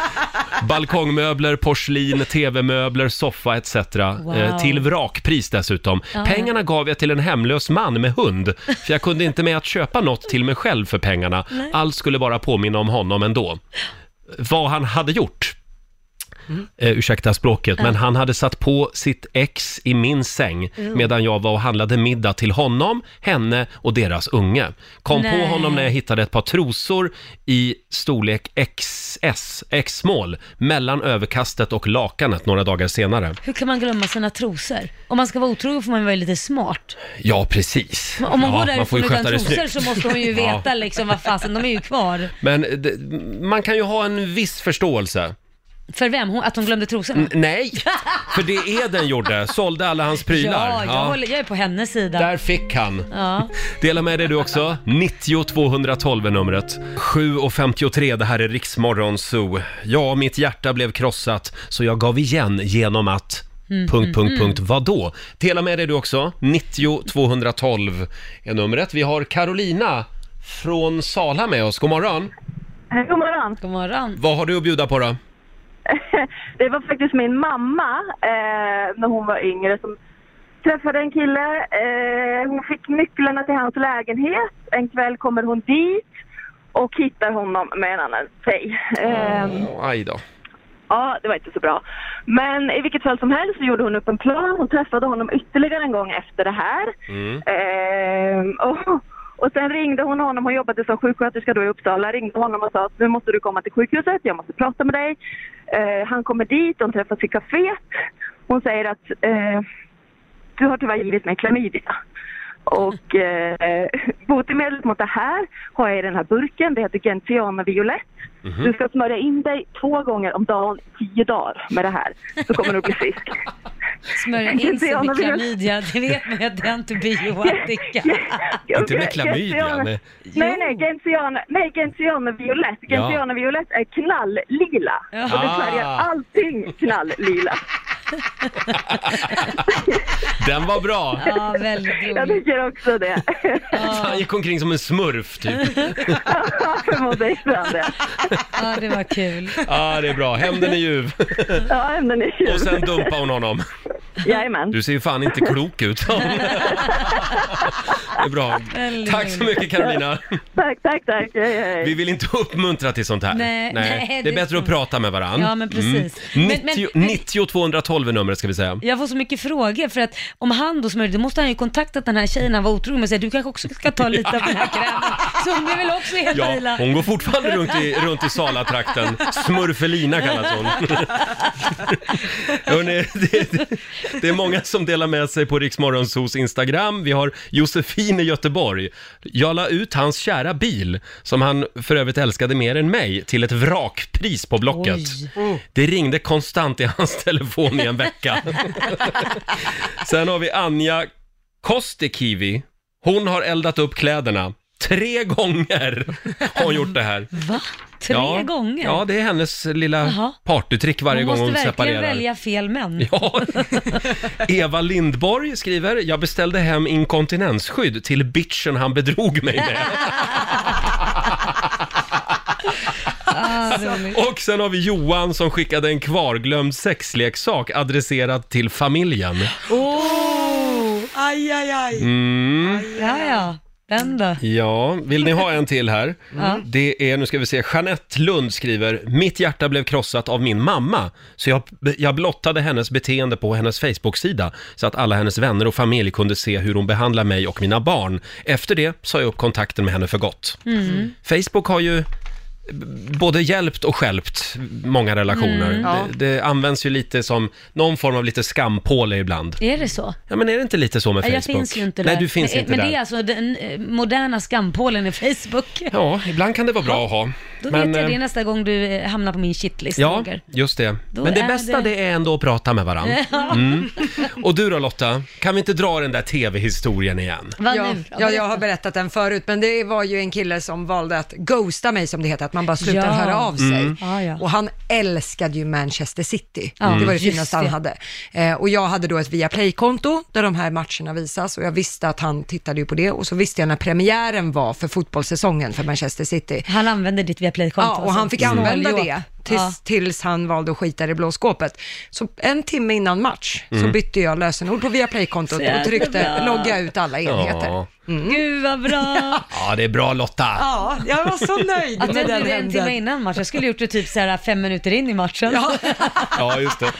[SPEAKER 1] Balkongmöbler, porslin, tv-möbler, soffa etc. Eh, till vrakpris dessutom.
[SPEAKER 2] Ja.
[SPEAKER 1] Pengarna gav jag till en hemlös man med hund, för jag kunde inte med att köpa något till mig själv för pengarna.
[SPEAKER 2] Nej.
[SPEAKER 1] Allt skulle bara påminna om honom ändå. Vad han hade gjort? Eh, ursäkta språket,
[SPEAKER 12] Ja.
[SPEAKER 1] men han hade satt på sitt ex i min säng
[SPEAKER 12] Mm.
[SPEAKER 1] medan jag var och handlade middag till honom, henne och deras unge. Kom på
[SPEAKER 12] Nej.
[SPEAKER 1] honom när jag hittade ett par trosor i storlek XS, X-mål, mellan överkastet och lakanet några dagar senare.
[SPEAKER 2] Hur kan man glömma sina trosor? Om man ska vara otrogen får man ju vara lite smart.
[SPEAKER 1] Ja, precis.
[SPEAKER 2] Men Om man
[SPEAKER 1] ja,
[SPEAKER 2] går därifrån utan trosor
[SPEAKER 1] snyggt.
[SPEAKER 2] så måste man ju
[SPEAKER 1] Ja.
[SPEAKER 2] veta liksom vad fasen, de är ju kvar.
[SPEAKER 1] Men det, man kan ju ha en viss förståelse.
[SPEAKER 2] För vem? Hon, att hon glömde trosorna?
[SPEAKER 1] N- nej, för det Eden gjorde, sålde alla hans prylar.
[SPEAKER 2] Ja, jag, Håller, jag är på hennes sida.
[SPEAKER 1] Där fick han.
[SPEAKER 2] Ja.
[SPEAKER 1] Dela med dig du också. 90 212 är numret. 7.53, det här är Riksmorgon Zoo. Ja, mitt hjärta blev krossat så jag gav igen genom att...
[SPEAKER 12] Mm,
[SPEAKER 1] punkt, punkt,
[SPEAKER 12] mm,
[SPEAKER 1] punkt. Vadå? Dela med dig du också. 90 212 är numret. Vi har Carolina från Sala med oss. God morgon.
[SPEAKER 4] God morgon.
[SPEAKER 2] God morgon.
[SPEAKER 1] Vad har du att bjuda på då?
[SPEAKER 4] Det var faktiskt min mamma eh, när hon var yngre som träffade en kille. Eh, hon fick nycklarna till hans lägenhet. En kväll kommer hon dit och hittar honom med en annan tjej. Eh,
[SPEAKER 2] Ehm.
[SPEAKER 1] Aj då.
[SPEAKER 4] Ja, det var inte så bra. Men i vilket fall som helst så gjorde hon upp en plan. Hon träffade honom ytterligare en gång efter det här.
[SPEAKER 12] Mm.
[SPEAKER 4] Ehm, och, och sen ringde hon honom, hon jobbade som sjuksköterska då i Uppsala, ringde honom och sa att nu måste du komma till sjukhuset, jag måste prata med dig. Eh, han kommer dit, de träffas i kaféet. Hon säger att eh, du har tyvärr givit mig klamydia. Och eh, botemedlet mot det här har jag i den här burken, det heter Gentiana Violett.
[SPEAKER 12] Mhm.
[SPEAKER 4] Du ska smörja in dig två gånger om dagen i tio dagar med det här, så kommer du bli frisk.
[SPEAKER 2] Smörja in sig med
[SPEAKER 4] Gentiana Violett.
[SPEAKER 2] klamydia, det vet man ju att det är antibiotika.
[SPEAKER 1] Inte med klamydia.
[SPEAKER 4] Gentiana-
[SPEAKER 1] nej.
[SPEAKER 4] Nej, nej, Gentiana, nej, Gentiana Violett.
[SPEAKER 1] Ja.
[SPEAKER 4] Gentiana Violett är knalllila. Och det
[SPEAKER 1] Ah.
[SPEAKER 4] färgar allting knalllila.
[SPEAKER 1] Den var bra.
[SPEAKER 2] Ja, väldigt roligt.
[SPEAKER 4] Jag tycker också det.
[SPEAKER 1] Han gick omkring som en smurf typ.
[SPEAKER 4] Förmodligen det.
[SPEAKER 2] Ja, det var kul.
[SPEAKER 1] Ja, det är bra. Hämnden är ljuv.
[SPEAKER 4] Ja, hämnden är ljuv.
[SPEAKER 1] Och sen dumpade hon honom.
[SPEAKER 4] Jajamän.
[SPEAKER 1] Du ser ju fan inte klok ut. Det är bra.
[SPEAKER 4] Väldigt
[SPEAKER 1] Tack så
[SPEAKER 4] roligt.
[SPEAKER 1] mycket Carolina.
[SPEAKER 4] Tack, tack, tack. Hej, hej.
[SPEAKER 1] Vi vill inte uppmuntra till sånt här.
[SPEAKER 4] Nej,
[SPEAKER 2] nej,
[SPEAKER 1] det är
[SPEAKER 2] det-
[SPEAKER 1] bättre att prata med Mm. varandra.
[SPEAKER 2] Ja, men precis. Men- men-
[SPEAKER 1] 90, 90 212 är numret ska vi säga.
[SPEAKER 2] Jag får så mycket frågor för att om han då smörjde, då måste han ju kontaktat den här tjejen han var otrogen med och säga du kanske också ska ta lite av den här krämen. Så hon blir väl också helt
[SPEAKER 1] Ja,
[SPEAKER 2] lila.
[SPEAKER 1] hon går fortfarande runt i, runt i Salatrakten. Smurfelina kallas hon. Hörrni, det, det, det är många som delar med sig på Riksmorgonsos Instagram. Vi har Josefin i Göteborg. Jag la ut hans kära bil, som han för övrigt älskade mer än mig, till ett vrakpris på Blocket. Det ringde konstant i hans telefon i en vecka. Sen har vi Anja Kostikivi. Hon har eldat upp kläderna. Tre gånger har hon gjort det här.
[SPEAKER 2] Va? Tre
[SPEAKER 1] ja,
[SPEAKER 2] gånger?
[SPEAKER 1] Ja, det är hennes lilla
[SPEAKER 2] Jaha.
[SPEAKER 1] partytrick varje
[SPEAKER 2] hon
[SPEAKER 1] gång hon
[SPEAKER 2] måste
[SPEAKER 1] separerar.
[SPEAKER 2] verkligen välja fel män.
[SPEAKER 1] Ja. Eva Lindborg skriver, jag beställde hem inkontinensskydd till bitchen han bedrog mig med.
[SPEAKER 2] Ah, roligt.
[SPEAKER 1] Och sen har vi Johan som skickade en kvarglömd sexleksak adresserad till familjen.
[SPEAKER 2] Oh.
[SPEAKER 5] Aj, aj, aj.
[SPEAKER 1] Mm.
[SPEAKER 2] Ja, ja. Den då?
[SPEAKER 1] Ja, vill ni ha en till här?
[SPEAKER 2] Ja.
[SPEAKER 1] Det är, nu ska vi se, Jeanette Lund skriver, mitt hjärta blev krossat av min mamma, så jag, jag blottade hennes beteende på hennes Facebook-sida, så att alla hennes vänner och familj kunde se hur hon behandlar mig och mina barn. Efter det sa jag upp kontakten med henne för gott.
[SPEAKER 12] Mm.
[SPEAKER 1] Facebook har ju b- både hjälpt och stjälpt många relationer.
[SPEAKER 2] Mm. Ja.
[SPEAKER 1] Det, det används ju lite som någon form av lite skampåle ibland.
[SPEAKER 2] Är det så?
[SPEAKER 1] Ja, men är det inte lite så med
[SPEAKER 2] Ja,
[SPEAKER 1] Facebook?
[SPEAKER 2] Jag finns ju inte där.
[SPEAKER 1] Nej, du finns
[SPEAKER 2] men,
[SPEAKER 1] inte
[SPEAKER 2] men
[SPEAKER 1] där.
[SPEAKER 2] det är alltså den eh, moderna skampålen i Facebook.
[SPEAKER 1] Ja, ibland kan det vara bra att ha.
[SPEAKER 2] Då
[SPEAKER 1] Men,
[SPEAKER 2] vet jag det
[SPEAKER 1] eh,
[SPEAKER 2] nästa gång du eh, hamnar på min shitlist,
[SPEAKER 1] Ja,
[SPEAKER 2] Roger.
[SPEAKER 1] just det.
[SPEAKER 2] Då
[SPEAKER 1] Men det
[SPEAKER 2] är
[SPEAKER 1] bästa
[SPEAKER 2] det-
[SPEAKER 1] det... är ändå att prata med varandra.
[SPEAKER 2] Ja.
[SPEAKER 1] Mm. Och du då Lotta, kan vi inte dra den där tv-historien igen?
[SPEAKER 5] ja, ja, jag har berättat den förut, men det var ju en kille som valde att ghosta mig, som det heter, att man bara slutar
[SPEAKER 2] Ja. Ah,
[SPEAKER 5] höra av sig.
[SPEAKER 1] Mm.
[SPEAKER 5] Och han älskade ju Manchester City.
[SPEAKER 2] Ja,
[SPEAKER 5] Det var det
[SPEAKER 2] just
[SPEAKER 5] finaste han
[SPEAKER 2] det.
[SPEAKER 5] hade. Eh, och jag hade då ett Viaplay-konto där de här matcherna visas och jag visste att han tittade ju på det och så visste jag när premiären var för fotbollssäsongen för Manchester City.
[SPEAKER 2] Han använde ditt Viaplay-konto. alltså.
[SPEAKER 5] Ja, och han fick använda det tills,
[SPEAKER 13] Ja.
[SPEAKER 5] tills han valde att skita i det blå skåpet. Så en timme innan match så
[SPEAKER 13] Mm.
[SPEAKER 5] bytte jag lösenord på Viaplay-kontot och
[SPEAKER 13] Så jävla
[SPEAKER 5] tryckte
[SPEAKER 13] bra.
[SPEAKER 5] logga ut alla enheter.
[SPEAKER 1] Ja.
[SPEAKER 5] Mm.
[SPEAKER 2] Gud vad bra!
[SPEAKER 1] Ja, det är bra Lotta.
[SPEAKER 5] Ja, jag var så nöjd
[SPEAKER 2] Att
[SPEAKER 5] med
[SPEAKER 2] jag
[SPEAKER 5] den
[SPEAKER 2] gjorde det en
[SPEAKER 5] hämnden.
[SPEAKER 2] timme innan match. Jag skulle gjort det typ så här fem minuter in i matchen.
[SPEAKER 1] Ja, just det.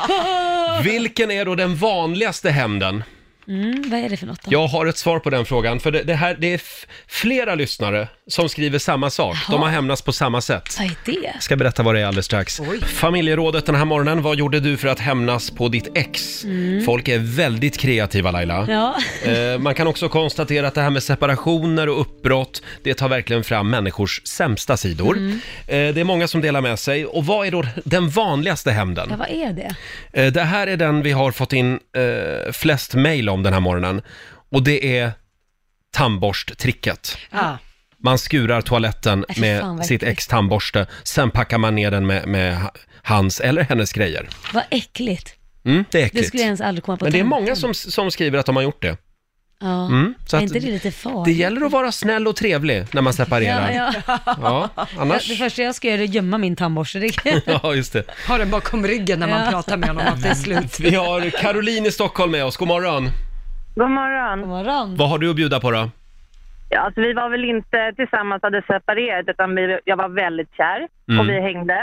[SPEAKER 1] Vilken är då den vanligaste hämnden?
[SPEAKER 2] Mm, vad är det för något då?
[SPEAKER 1] Jag har ett svar på den frågan, för det, det, här, det är f- flera lyssnare som skriver samma sak.
[SPEAKER 2] Jaha.
[SPEAKER 1] De har hämnats på samma sätt.
[SPEAKER 2] Vad är det?
[SPEAKER 1] Jag ska berätta vad det är alldeles strax. Familjerådet den här morgonen, vad gjorde du för att hämnas på ditt ex?
[SPEAKER 2] Mm.
[SPEAKER 1] Folk är väldigt kreativa Laila.
[SPEAKER 2] Ja.
[SPEAKER 1] Eh, Man kan också konstatera att det här med separationer och uppbrott, det tar verkligen fram människors sämsta sidor.
[SPEAKER 2] Mm.
[SPEAKER 1] Eh, Det är många som delar med sig. Och vad är då den vanligaste hämnden?
[SPEAKER 2] Ja, vad är det?
[SPEAKER 1] Eh, Det här är den vi har fått in eh, flest mejl om den här morgonen. Och det är tandborsttricket.
[SPEAKER 5] Ja.
[SPEAKER 1] Man skurar toaletten
[SPEAKER 5] Äh, fy
[SPEAKER 1] med
[SPEAKER 5] fan, vad
[SPEAKER 1] sitt
[SPEAKER 5] äckligt.
[SPEAKER 1] ex tandborste, sen packar man ner den med, med ha- hans eller hennes grejer.
[SPEAKER 2] Vad äckligt.
[SPEAKER 1] Mm, det är äckligt.
[SPEAKER 2] Det skulle jag ens aldrig komma på
[SPEAKER 1] Men det är
[SPEAKER 2] tanken.
[SPEAKER 1] många som, som skriver att de har gjort det.
[SPEAKER 2] Ja.
[SPEAKER 1] Mm, så
[SPEAKER 2] är
[SPEAKER 1] att-
[SPEAKER 2] inte det lite farligt?
[SPEAKER 1] Det gäller att vara snäll och trevlig när man separerar.
[SPEAKER 2] Ja, ja.
[SPEAKER 1] Ja, annars...
[SPEAKER 2] Det första jag ska göra är att gömma min tandborste. Det kan-
[SPEAKER 1] Ja, just det.
[SPEAKER 5] Ha den bakom ryggen när man
[SPEAKER 2] Ja.
[SPEAKER 5] pratar med honom att det är slut.
[SPEAKER 1] Vi har Caroline i Stockholm med oss. God morgon.
[SPEAKER 4] God morgon. God
[SPEAKER 2] morgon.
[SPEAKER 1] Vad har du att bjuda på då?
[SPEAKER 4] Ja, alltså, vi var väl inte tillsammans hade separerat utan vi, jag var väldigt kär
[SPEAKER 1] Mm.
[SPEAKER 4] och vi hängde.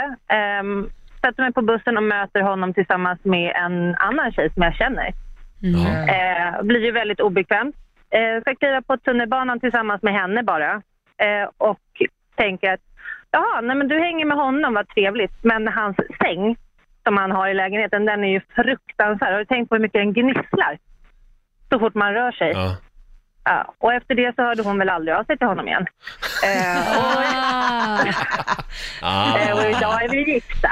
[SPEAKER 4] Um, sätter mig på bussen och möter honom tillsammans med en annan tjej som jag känner.
[SPEAKER 2] Mm.
[SPEAKER 4] Eh, blir ju väldigt obekvämt. Eh, ska kliva på tunnelbanan tillsammans med henne bara. Eh, och tänker att jaha, nej men du hänger med honom, vad trevligt. Men hans säng som han har i lägenheten, den är ju fruktansvärd. Har du tänkt på hur mycket den gnisslar? Så fort man rör sig.
[SPEAKER 1] Ja.
[SPEAKER 4] Ja, och efter det så hörde hon väl aldrig av sig till honom igen. Eh, och, eh, och idag är vi gifta.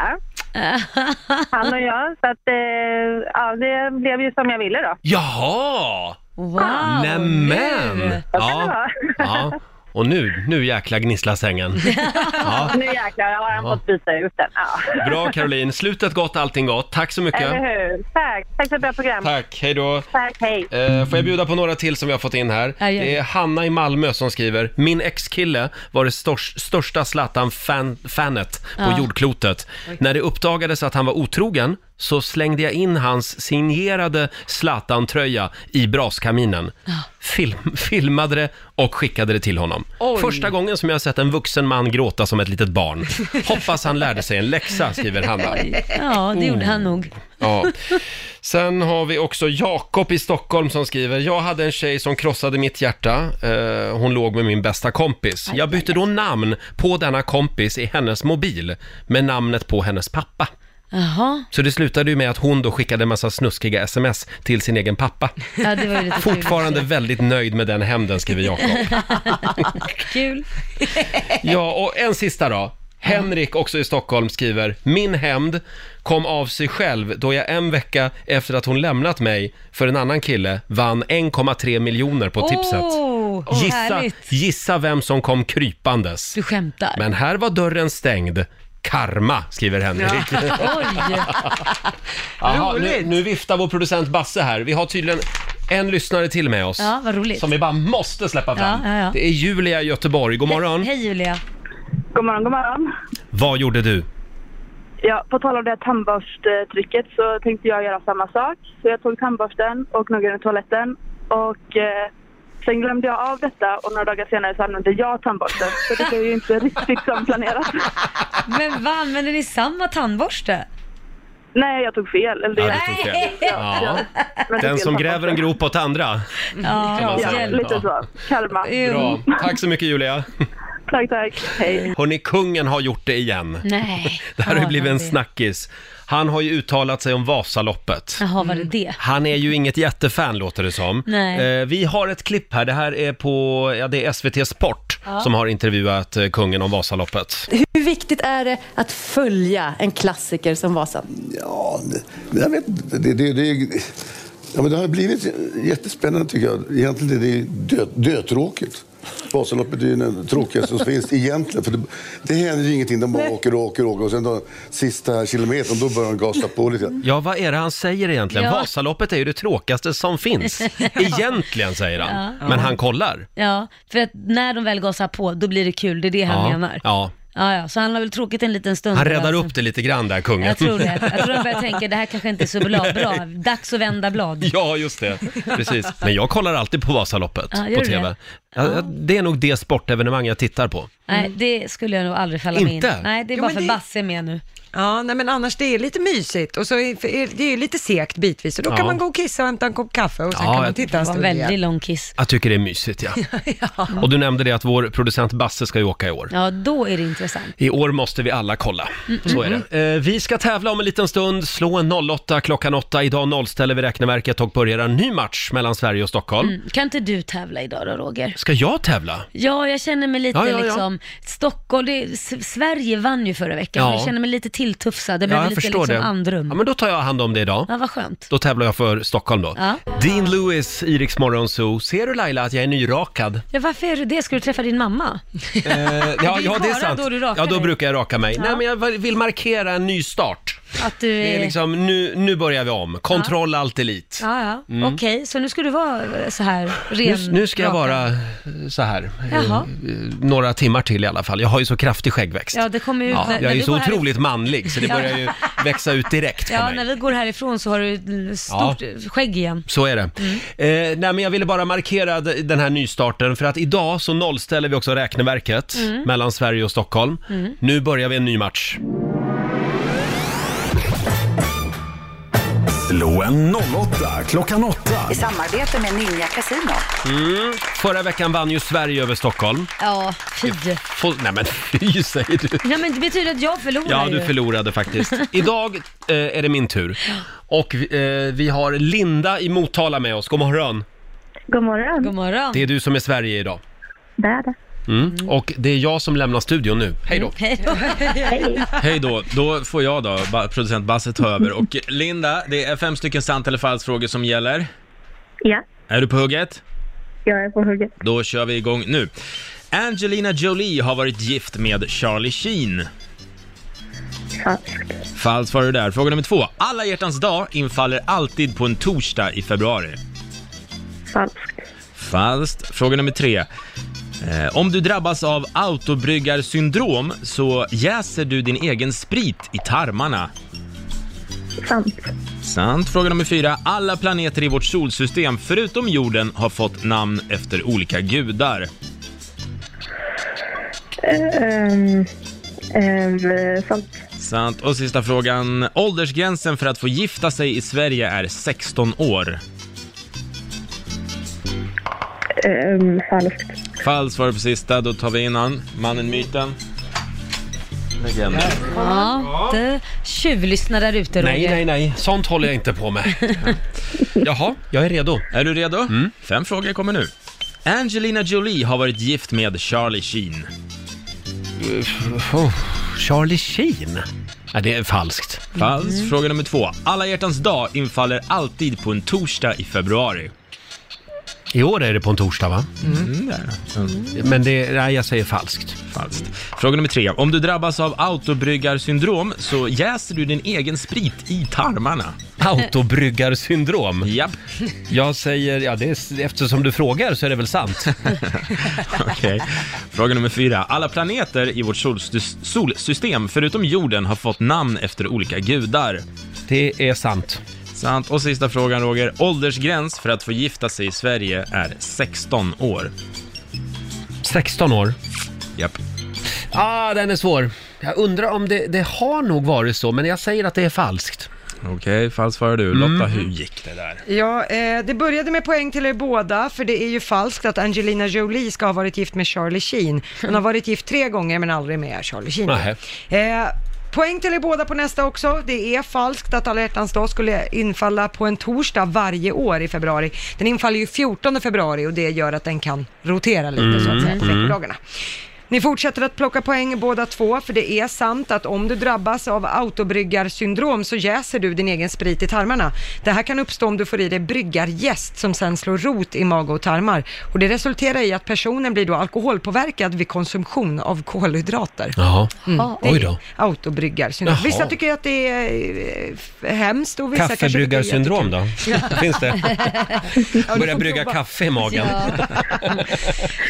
[SPEAKER 4] Han och jag. Så att, eh, ja, det blev ju som jag ville då.
[SPEAKER 1] Jaha!
[SPEAKER 2] Wow!
[SPEAKER 1] Nämen! Ja. ja. Och nu, nu jäkla gnisslar sängen. Ja.
[SPEAKER 4] Nu jäklar har han
[SPEAKER 1] Ja.
[SPEAKER 4] fått byta ut den. Ja.
[SPEAKER 1] Bra Caroline, slutet gott, allting gott. Tack så mycket.
[SPEAKER 4] Eller hur? Tack. Tack för ett bra program.
[SPEAKER 1] Tack, hej då.
[SPEAKER 4] Tack, hej.
[SPEAKER 1] Eh, får jag bjuda på några till som vi har fått in här?
[SPEAKER 4] Ja, gör det.
[SPEAKER 1] Det är Hanna i Malmö som skriver, min ex-kille var det stors- största Zlatan-fanet på
[SPEAKER 14] Ja.
[SPEAKER 1] jordklotet. När det uppdagades att han var otrogen så slängde jag in hans signerade Zlatan-tröja i braskaminen. Film- filmade det och skickade det till honom.
[SPEAKER 15] Oj.
[SPEAKER 1] Första gången som jag har sett en vuxen man gråta som ett litet barn. Hoppas han lärde sig en läxa, skriver Hanna.
[SPEAKER 2] Ja, det gjorde han nog.
[SPEAKER 1] Ja. Sen har vi också Jakob i Stockholm som skriver, jag hade en tjej som krossade mitt hjärta, Eh, hon låg med min bästa kompis. Jag bytte då namn på denna kompis i hennes mobil med namnet på hennes pappa.
[SPEAKER 2] Jaha,
[SPEAKER 1] Så det slutade ju med att hon då skickade en massa snuskiga sms till sin egen pappa.
[SPEAKER 2] ja, det var ju lite kul.
[SPEAKER 1] Fortfarande väldigt nöjd med den hämnden, skriver Jakob.
[SPEAKER 2] Kul.
[SPEAKER 1] Ja, och en sista då. Henrik, också i Stockholm, skriver “Min hämnd kom av sig själv då jag en vecka efter att hon lämnat mig för en annan kille vann 1,3 miljoner på tipset.
[SPEAKER 2] Åh, åh,
[SPEAKER 1] Gissa,
[SPEAKER 2] härligt.
[SPEAKER 1] gissa vem som kom krypandes.
[SPEAKER 2] Du skämtar.
[SPEAKER 1] Men här var dörren stängd. Karma, skriver Henrik.
[SPEAKER 2] Oj!
[SPEAKER 1] Jaha, nu,
[SPEAKER 2] Roligt.
[SPEAKER 1] nu viftar vår producent Basse här. Vi har tydligen en lyssnare till med oss.
[SPEAKER 2] Ja, vad roligt.
[SPEAKER 1] Som vi bara måste släppa fram.
[SPEAKER 2] Ja, ja, ja.
[SPEAKER 1] Det är Julia i Göteborg. God morgon.
[SPEAKER 2] Hej Julia.
[SPEAKER 16] God morgon, god morgon.
[SPEAKER 1] Vad gjorde du?
[SPEAKER 16] Ja, på tal om det här tandborsttrycket så tänkte jag göra samma sak. Så jag tog tandborsten och gnuggade i toaletten och eh, sen glömde jag av detta och några dagar senare så använde jag tandborsten. Så det blev ju inte riktigt som planerat.
[SPEAKER 2] Men vad använder ni samma tandborste?
[SPEAKER 16] Nej, jag tog fel. Eller
[SPEAKER 1] Ja, du tog fel. Ja. Den som gräver en grop åt andra.
[SPEAKER 2] Ja,
[SPEAKER 1] kan man säga.
[SPEAKER 16] ja, lite så. Kalma.
[SPEAKER 1] Bra. Mm. Tack så mycket Julia.
[SPEAKER 16] Tack, tack. Hej.
[SPEAKER 1] Hörni, kungen har gjort det igen.
[SPEAKER 2] Nej.
[SPEAKER 1] Det här har ju
[SPEAKER 2] Har
[SPEAKER 1] blivit
[SPEAKER 2] han
[SPEAKER 1] en
[SPEAKER 2] det?
[SPEAKER 1] snackis. Han har ju uttalat sig om Vasaloppet.
[SPEAKER 2] Jaha, var det det?
[SPEAKER 1] Han är ju inget jättefan låter det som.
[SPEAKER 2] Nej.
[SPEAKER 1] Eh, vi har ett klipp här. Det här är på, ja det är SVT Sport
[SPEAKER 17] Ja.
[SPEAKER 1] som har intervjuat eh, kungen om Vasaloppet.
[SPEAKER 17] Hur viktigt är det att följa en klassiker som Vasan?
[SPEAKER 12] Ja, det, jag vet inte. det, det, det, ja, men det har blivit jättespännande tycker jag. Egentligen är det dö, dötråkigt. Vasaloppet är ju den tråkigaste som finns egentligen. För det, det händer ju ingenting. De bara åker och åker och åker och sen då, sista kilometern då börjar de gasa på lite grann.
[SPEAKER 1] Ja, vad är det han säger egentligen?
[SPEAKER 2] Ja.
[SPEAKER 1] Vasaloppet är ju det tråkigaste som finns. Egentligen säger han.
[SPEAKER 2] Ja.
[SPEAKER 1] Men han kollar.
[SPEAKER 2] Ja, för att när de väl gasar på, då blir det kul. Det är det han
[SPEAKER 1] ja.
[SPEAKER 2] menar.
[SPEAKER 1] Ja.
[SPEAKER 2] Ja, ja, så han har väl tråkigt en liten stund.
[SPEAKER 12] Han räddar upp det lite grann där, kungen.
[SPEAKER 2] Jag tror det. Jag tror de börjar tänka, det här kanske inte är så bra. bra. Dags att vända blad.
[SPEAKER 12] Ja, just det. Precis. Men jag kollar alltid på Vasaloppet
[SPEAKER 2] Ja, gör
[SPEAKER 12] på
[SPEAKER 2] du
[SPEAKER 12] TV.
[SPEAKER 2] det?
[SPEAKER 12] Ja, ja, det är nog det sportevenemang jag tittar på.
[SPEAKER 2] Nej, det skulle jag nog aldrig falla mig
[SPEAKER 12] Inte?
[SPEAKER 2] in. Nej, det är
[SPEAKER 5] Jo,
[SPEAKER 2] bara
[SPEAKER 5] men
[SPEAKER 2] för
[SPEAKER 5] det-
[SPEAKER 2] Basse är med nu.
[SPEAKER 5] Ja, nej men annars det är lite mysigt och så är, för är det är ju lite segt bitvis och då
[SPEAKER 12] Ja.
[SPEAKER 5] kan man gå och kissa och hämta en kopp kaffe och sen
[SPEAKER 12] Ja,
[SPEAKER 5] kan man
[SPEAKER 12] jag-
[SPEAKER 5] titta en
[SPEAKER 12] Det var
[SPEAKER 5] stund
[SPEAKER 12] en
[SPEAKER 5] igen.
[SPEAKER 12] väldigt
[SPEAKER 2] lång kiss.
[SPEAKER 12] Jag tycker det är mysigt, ja. Och du nämnde det att vår producent Basse ska ju åka i år.
[SPEAKER 2] Ja, då är det intressant.
[SPEAKER 12] I år måste vi alla kolla.
[SPEAKER 2] Mm,
[SPEAKER 12] Så är
[SPEAKER 2] mm,
[SPEAKER 12] det. Eh, Vi ska tävla om en liten stund. Slå en 08 klockan 8. Idag nollställer vi räkneverket och börjar en ny match mellan Sverige och Stockholm.
[SPEAKER 2] Mm. Kan inte du tävla idag då, Roger?
[SPEAKER 12] Ska jag tävla?
[SPEAKER 2] Ja, jag känner mig lite
[SPEAKER 12] Ja, ja, ja.
[SPEAKER 2] liksom, Stockholm, det, S- Sverige vann ju förra veckan,
[SPEAKER 12] Ja.
[SPEAKER 2] jag känner mig lite tilltufsad, jag
[SPEAKER 12] ja,
[SPEAKER 2] behöver
[SPEAKER 12] jag
[SPEAKER 2] lite
[SPEAKER 12] förstår
[SPEAKER 2] liksom
[SPEAKER 12] det.
[SPEAKER 2] andrum.
[SPEAKER 12] Ja, men då tar jag hand om det idag.
[SPEAKER 2] Ja, vad skönt.
[SPEAKER 12] Då tävlar jag för Stockholm då.
[SPEAKER 2] Ja.
[SPEAKER 12] Dean Lewis, Iriks morgonzoo. Ser du Laila att jag är nyrakad?
[SPEAKER 2] Ja, varför är du det? Ska du träffa din mamma?
[SPEAKER 12] Eh, ja,
[SPEAKER 2] ju
[SPEAKER 12] ja, det är
[SPEAKER 2] bara
[SPEAKER 12] sant.
[SPEAKER 2] då du rakar
[SPEAKER 12] ja, då
[SPEAKER 2] dig.
[SPEAKER 12] brukar jag raka mig.
[SPEAKER 2] Ja.
[SPEAKER 12] Nej, men jag vill markera en ny start.
[SPEAKER 2] Att du
[SPEAKER 12] Det är liksom, nu, nu börjar vi om. Kontroll allt elit.
[SPEAKER 2] Ja, ja.
[SPEAKER 12] Mm.
[SPEAKER 2] Okej, så nu ska du vara så här ren...
[SPEAKER 12] Nu, nu ska jag
[SPEAKER 2] rakad.
[SPEAKER 12] vara eh, så här, eh,
[SPEAKER 2] Jaha.
[SPEAKER 12] några timmar till i alla fall. Jag har ju så kraftig skäggväxt.
[SPEAKER 2] Ja, det kommer ju ut
[SPEAKER 12] Ja,
[SPEAKER 2] när,
[SPEAKER 12] jag
[SPEAKER 2] när
[SPEAKER 12] är
[SPEAKER 2] vi
[SPEAKER 12] ju så
[SPEAKER 2] går härifrån-
[SPEAKER 12] otroligt manlig så det
[SPEAKER 2] Ja.
[SPEAKER 12] börjar ju växa ut direkt på
[SPEAKER 2] Ja,
[SPEAKER 12] mig.
[SPEAKER 2] när vi går härifrån så har du stort skägg igen.
[SPEAKER 12] Så är det.
[SPEAKER 2] Mm.
[SPEAKER 12] Eh, nej, men jag ville bara markera d- den här nystarten för att idag så nollställer vi också räkneverket
[SPEAKER 2] Mm.
[SPEAKER 12] mellan Sverige och Stockholm.
[SPEAKER 2] Mm.
[SPEAKER 12] Nu börjar vi en ny match.
[SPEAKER 18] Slå en 08 klockan 8.
[SPEAKER 11] I samarbete med Ninja Casino.
[SPEAKER 12] Mm. Förra veckan vann ju Sverige över Stockholm.
[SPEAKER 2] Ja, fy.
[SPEAKER 12] Få- nej men fy säger du.
[SPEAKER 2] Ja, men det betyder att jag förlorar
[SPEAKER 12] Ja, du
[SPEAKER 2] ju.
[SPEAKER 12] förlorade faktiskt. Idag eh, är det min tur. Och vi, eh, vi har Linda i Motala med oss. God morgon.
[SPEAKER 2] God morgon. God morgon.
[SPEAKER 12] Det är du som är Sverige idag.
[SPEAKER 2] Det är det.
[SPEAKER 12] Mm. Och det är jag som lämnar studion nu. Hej då.
[SPEAKER 2] Hej då.
[SPEAKER 1] Hej då, då får jag då, ba- producent Basse ta över. Och Linda, det är fem stycken sant eller falskt frågor som gäller.
[SPEAKER 4] Ja,
[SPEAKER 1] Är du på hugget?
[SPEAKER 4] jag är på hugget.
[SPEAKER 1] Då kör vi igång nu. Angelina Jolie har varit gift med Charlie Sheen. Falskt. Falskt var det där. Fråga nummer två. Alla hjärtans dag infaller alltid på en torsdag i februari.
[SPEAKER 4] Falskt.
[SPEAKER 1] Falskt. Fråga nummer tre. Eh, om du drabbas av autobryggarsyndrom så jäser du din egen sprit i tarmarna.
[SPEAKER 4] Sant.
[SPEAKER 1] Sant. Fråga nummer fyra. Alla planeter i vårt solsystem förutom jorden har fått namn efter olika gudar.
[SPEAKER 4] Ehm, ehm, sant.
[SPEAKER 1] Sant. Och sista frågan. Åldersgränsen för att få gifta sig i Sverige är 16 år.
[SPEAKER 4] Ehm, falskt.
[SPEAKER 1] Falskt var det på sista. Då tar vi in han. Mannen, myten. Legenden.
[SPEAKER 2] Ja, inte tjuvlyssna där ute Roger.
[SPEAKER 12] Nej, nej, nej. Sånt håller jag inte på med. Jaha, jag är redo. Mm.
[SPEAKER 1] Är du redo? Fem frågor kommer nu. Angelina Jolie har varit gift med Charlie Sheen.
[SPEAKER 12] Oh, Charlie Sheen? Ja, det är falskt.
[SPEAKER 1] Falskt.
[SPEAKER 12] Mhm.
[SPEAKER 1] Fråga nummer två. Alla hjärtans dag infaller alltid på en torsdag i februari.
[SPEAKER 12] I år är det på en torsdag, va?
[SPEAKER 1] Mm, där.
[SPEAKER 12] Men det, nej, jag säger falskt.
[SPEAKER 1] Falskt. Fråga nummer tre. Om du drabbas av autobryggarsyndrom så jäser du din egen sprit i tarmarna.
[SPEAKER 12] Autobryggarsyndrom?
[SPEAKER 1] Japp.
[SPEAKER 12] Jag säger, ja det är, eftersom du frågar så är det väl sant.
[SPEAKER 1] Okej. Fråga nummer fyra. Alla planeter i vårt solsys- solsystem förutom jorden har fått namn efter olika gudar.
[SPEAKER 12] Det är sant.
[SPEAKER 1] Sant. Och sista frågan Roger. Åldersgräns för att få gifta sig i Sverige är 16 år.
[SPEAKER 12] 16 år.
[SPEAKER 1] Japp.
[SPEAKER 12] Ah, den är svår. Jag undrar om det, det har nog varit så, men jag säger att det är falskt.
[SPEAKER 1] Okej, falskt svarar du. Lotta, hur gick det där?
[SPEAKER 5] Ja, eh, det började med poäng till er båda, för det är ju falskt att Angelina Jolie ska ha varit gift med Charlie Sheen. Hon har varit gift tre gånger men aldrig med Charlie Sheen.
[SPEAKER 12] Nähä.
[SPEAKER 5] Eh, Poäng till er båda på nästa också. Det är falskt att alla hjärtans dag skulle infalla på en torsdag varje år i februari. Den infaller ju 14 februari och det gör att den kan rotera lite så att säga på
[SPEAKER 4] Mm.
[SPEAKER 5] veckodagarna. Ni fortsätter att plocka poäng båda två, för det är sant att om du drabbas av autobryggarsyndrom så jäser du din egen sprit i tarmarna. Det här kan uppstå om du får i dig bryggarjäst som sen slår rot i mage och tarmar. Och det resulterar i att personen blir då alkoholpåverkad vid konsumtion av kolhydrater.
[SPEAKER 12] Jaha.
[SPEAKER 5] Mm.
[SPEAKER 12] Oj då.
[SPEAKER 5] Autobryggarsyndrom.
[SPEAKER 12] Jaha.
[SPEAKER 5] Vissa tycker att det är eh, f- hemskt och vissa kanske tycker det är
[SPEAKER 12] Kaffebryggarsyndrom då?
[SPEAKER 5] jättekul.
[SPEAKER 12] Finns det?
[SPEAKER 5] Ja, du
[SPEAKER 12] Börja
[SPEAKER 5] får
[SPEAKER 12] brygga
[SPEAKER 5] prova.
[SPEAKER 12] kaffe i magen.
[SPEAKER 5] Ja.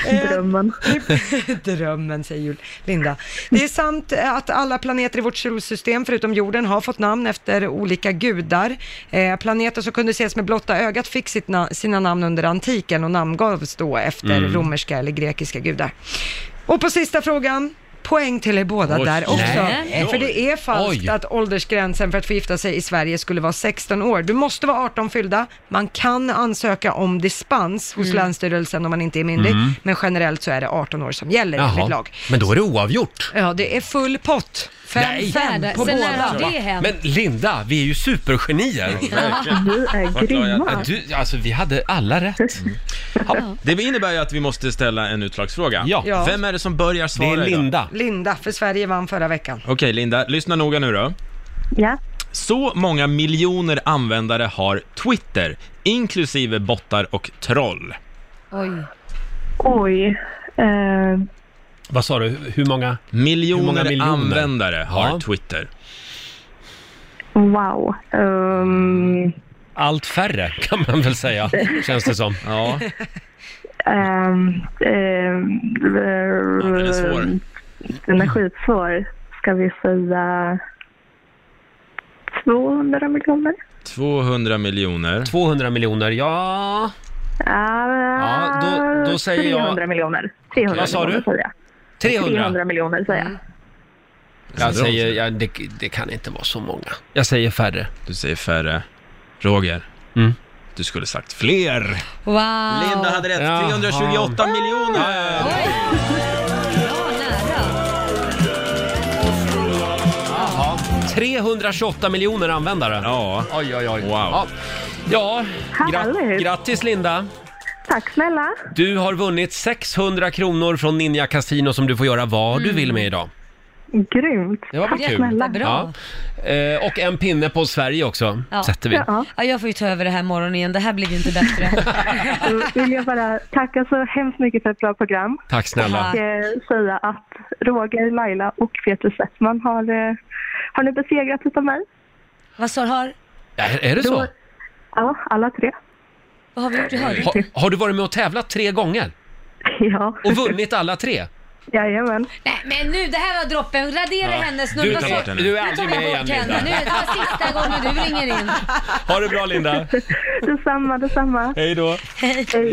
[SPEAKER 5] Eh, Drömmen. drömmen, säger Jul- Linda. Det är sant att alla planeter i vårt solsystem, förutom jorden, har fått namn efter olika gudar. Eh, planeter som kunde ses med blotta ögat fick sitt na- sina namn under antiken och namngavs då efter
[SPEAKER 11] Mm.
[SPEAKER 5] romerska eller grekiska gudar. Och på sista frågan, poäng till er båda
[SPEAKER 11] Oj.
[SPEAKER 5] där också. Eh,
[SPEAKER 11] Nej.
[SPEAKER 5] För det är falskt
[SPEAKER 11] Oj.
[SPEAKER 5] att åldersgränsen för att få gifta sig i Sverige skulle vara 16 år. Du måste vara 18 fyllda. Man kan ansöka om dispens hos
[SPEAKER 12] Mm.
[SPEAKER 5] Länsstyrelsen om man inte är myndig,
[SPEAKER 12] Mm.
[SPEAKER 5] men generellt så är det 18 år som gäller enligt lag.
[SPEAKER 12] men då är det oavgjort.
[SPEAKER 5] Ja, det är full pott.
[SPEAKER 12] Nej.
[SPEAKER 5] 5-5
[SPEAKER 12] Sen
[SPEAKER 5] på
[SPEAKER 12] när
[SPEAKER 5] båda.
[SPEAKER 12] har det Men Linda, vi är ju supergenier.
[SPEAKER 5] Ja, Verkligen. du är
[SPEAKER 1] Vart la jag- grymma.
[SPEAKER 12] Du, alltså, vi hade alla rätt.
[SPEAKER 1] Det innebär ju att vi måste ställa en utslagsfråga.
[SPEAKER 5] Ja.
[SPEAKER 1] Vem är det som börjar svara idag?
[SPEAKER 5] Linda, för Sverige vann förra veckan.
[SPEAKER 1] Okej, Linda, lyssna noga nu då.
[SPEAKER 5] Ja.
[SPEAKER 1] Så många miljoner användare har Twitter, inklusive bottar och troll.
[SPEAKER 2] Oj.
[SPEAKER 4] Oj. Eh,
[SPEAKER 12] Vad sa du? Hur många?
[SPEAKER 1] Miljoner,
[SPEAKER 12] Hur många miljoner?
[SPEAKER 1] användare har
[SPEAKER 12] Ja.
[SPEAKER 1] Twitter.
[SPEAKER 4] wow. Ehm,
[SPEAKER 12] Allt färre kan man väl säga, känns det som.
[SPEAKER 1] Ja.
[SPEAKER 4] ehm, ehm,
[SPEAKER 1] den är svår.
[SPEAKER 4] Den är skitsvår. Ska vi säga 200 miljoner?
[SPEAKER 1] 200 miljoner.
[SPEAKER 12] 200 miljoner, ja.
[SPEAKER 4] Ja,
[SPEAKER 12] då- då säger jag-
[SPEAKER 4] 300 miljoner. 300
[SPEAKER 12] Vad sa du? Mm.
[SPEAKER 4] miljoner säger jag.
[SPEAKER 12] 300?
[SPEAKER 4] 300 miljoner säger jag.
[SPEAKER 12] Jag säger, ja, det, det kan inte vara så många. Jag säger färre.
[SPEAKER 1] Du säger färre. Roger, du skulle sagt fler.
[SPEAKER 2] Wow.
[SPEAKER 1] Linda hade rätt. 328 miljoner!
[SPEAKER 12] Jaha. 328 miljoner användare.
[SPEAKER 1] Ja.
[SPEAKER 12] Oj, oj, oj. Wow. Ja, ja gra- grattis Linda.
[SPEAKER 4] Tack snälla.
[SPEAKER 12] Du har vunnit 600 kronor från Ninja Casino som du får göra vad du vill med idag.
[SPEAKER 4] Grymt.
[SPEAKER 12] Det var väl
[SPEAKER 4] Tack
[SPEAKER 12] kul?
[SPEAKER 4] snälla.
[SPEAKER 12] Ja. Eh, och en pinne på Sverige också, sätter vi.
[SPEAKER 2] Ja. ja, jag får ju ta över det här morgonen igen. Det här blir ju inte bättre.
[SPEAKER 4] Då vill jag bara tacka så hemskt mycket för ett bra program.
[SPEAKER 12] Tack snälla.
[SPEAKER 4] Och eh, säga att Roger, Laila och Peter Settman har, eh, har nu besegrats utav mig.
[SPEAKER 2] Vad sa du? Har?
[SPEAKER 12] Är, är det så?
[SPEAKER 4] Då- Ja, alla tre.
[SPEAKER 2] Vad har vi gjort i hörde?
[SPEAKER 12] Ha, har du varit med och tävlat tre gånger?
[SPEAKER 4] Ja.
[SPEAKER 12] Och vunnit alla tre?
[SPEAKER 4] Jajamän.
[SPEAKER 2] Nej men nu, det här var droppen. Radera
[SPEAKER 12] Ja.
[SPEAKER 2] hennes
[SPEAKER 12] Du
[SPEAKER 2] nummer.
[SPEAKER 12] tar
[SPEAKER 2] Så-
[SPEAKER 12] bort henne. Du är
[SPEAKER 2] Nu tar
[SPEAKER 12] aldrig
[SPEAKER 2] jag
[SPEAKER 12] med
[SPEAKER 2] bort
[SPEAKER 12] igen,
[SPEAKER 2] henne.
[SPEAKER 12] Linda.
[SPEAKER 2] Nu är det var sista gången du ringer in.
[SPEAKER 12] Ha det bra Linda.
[SPEAKER 4] Detsamma, detsamma.
[SPEAKER 12] Hej då.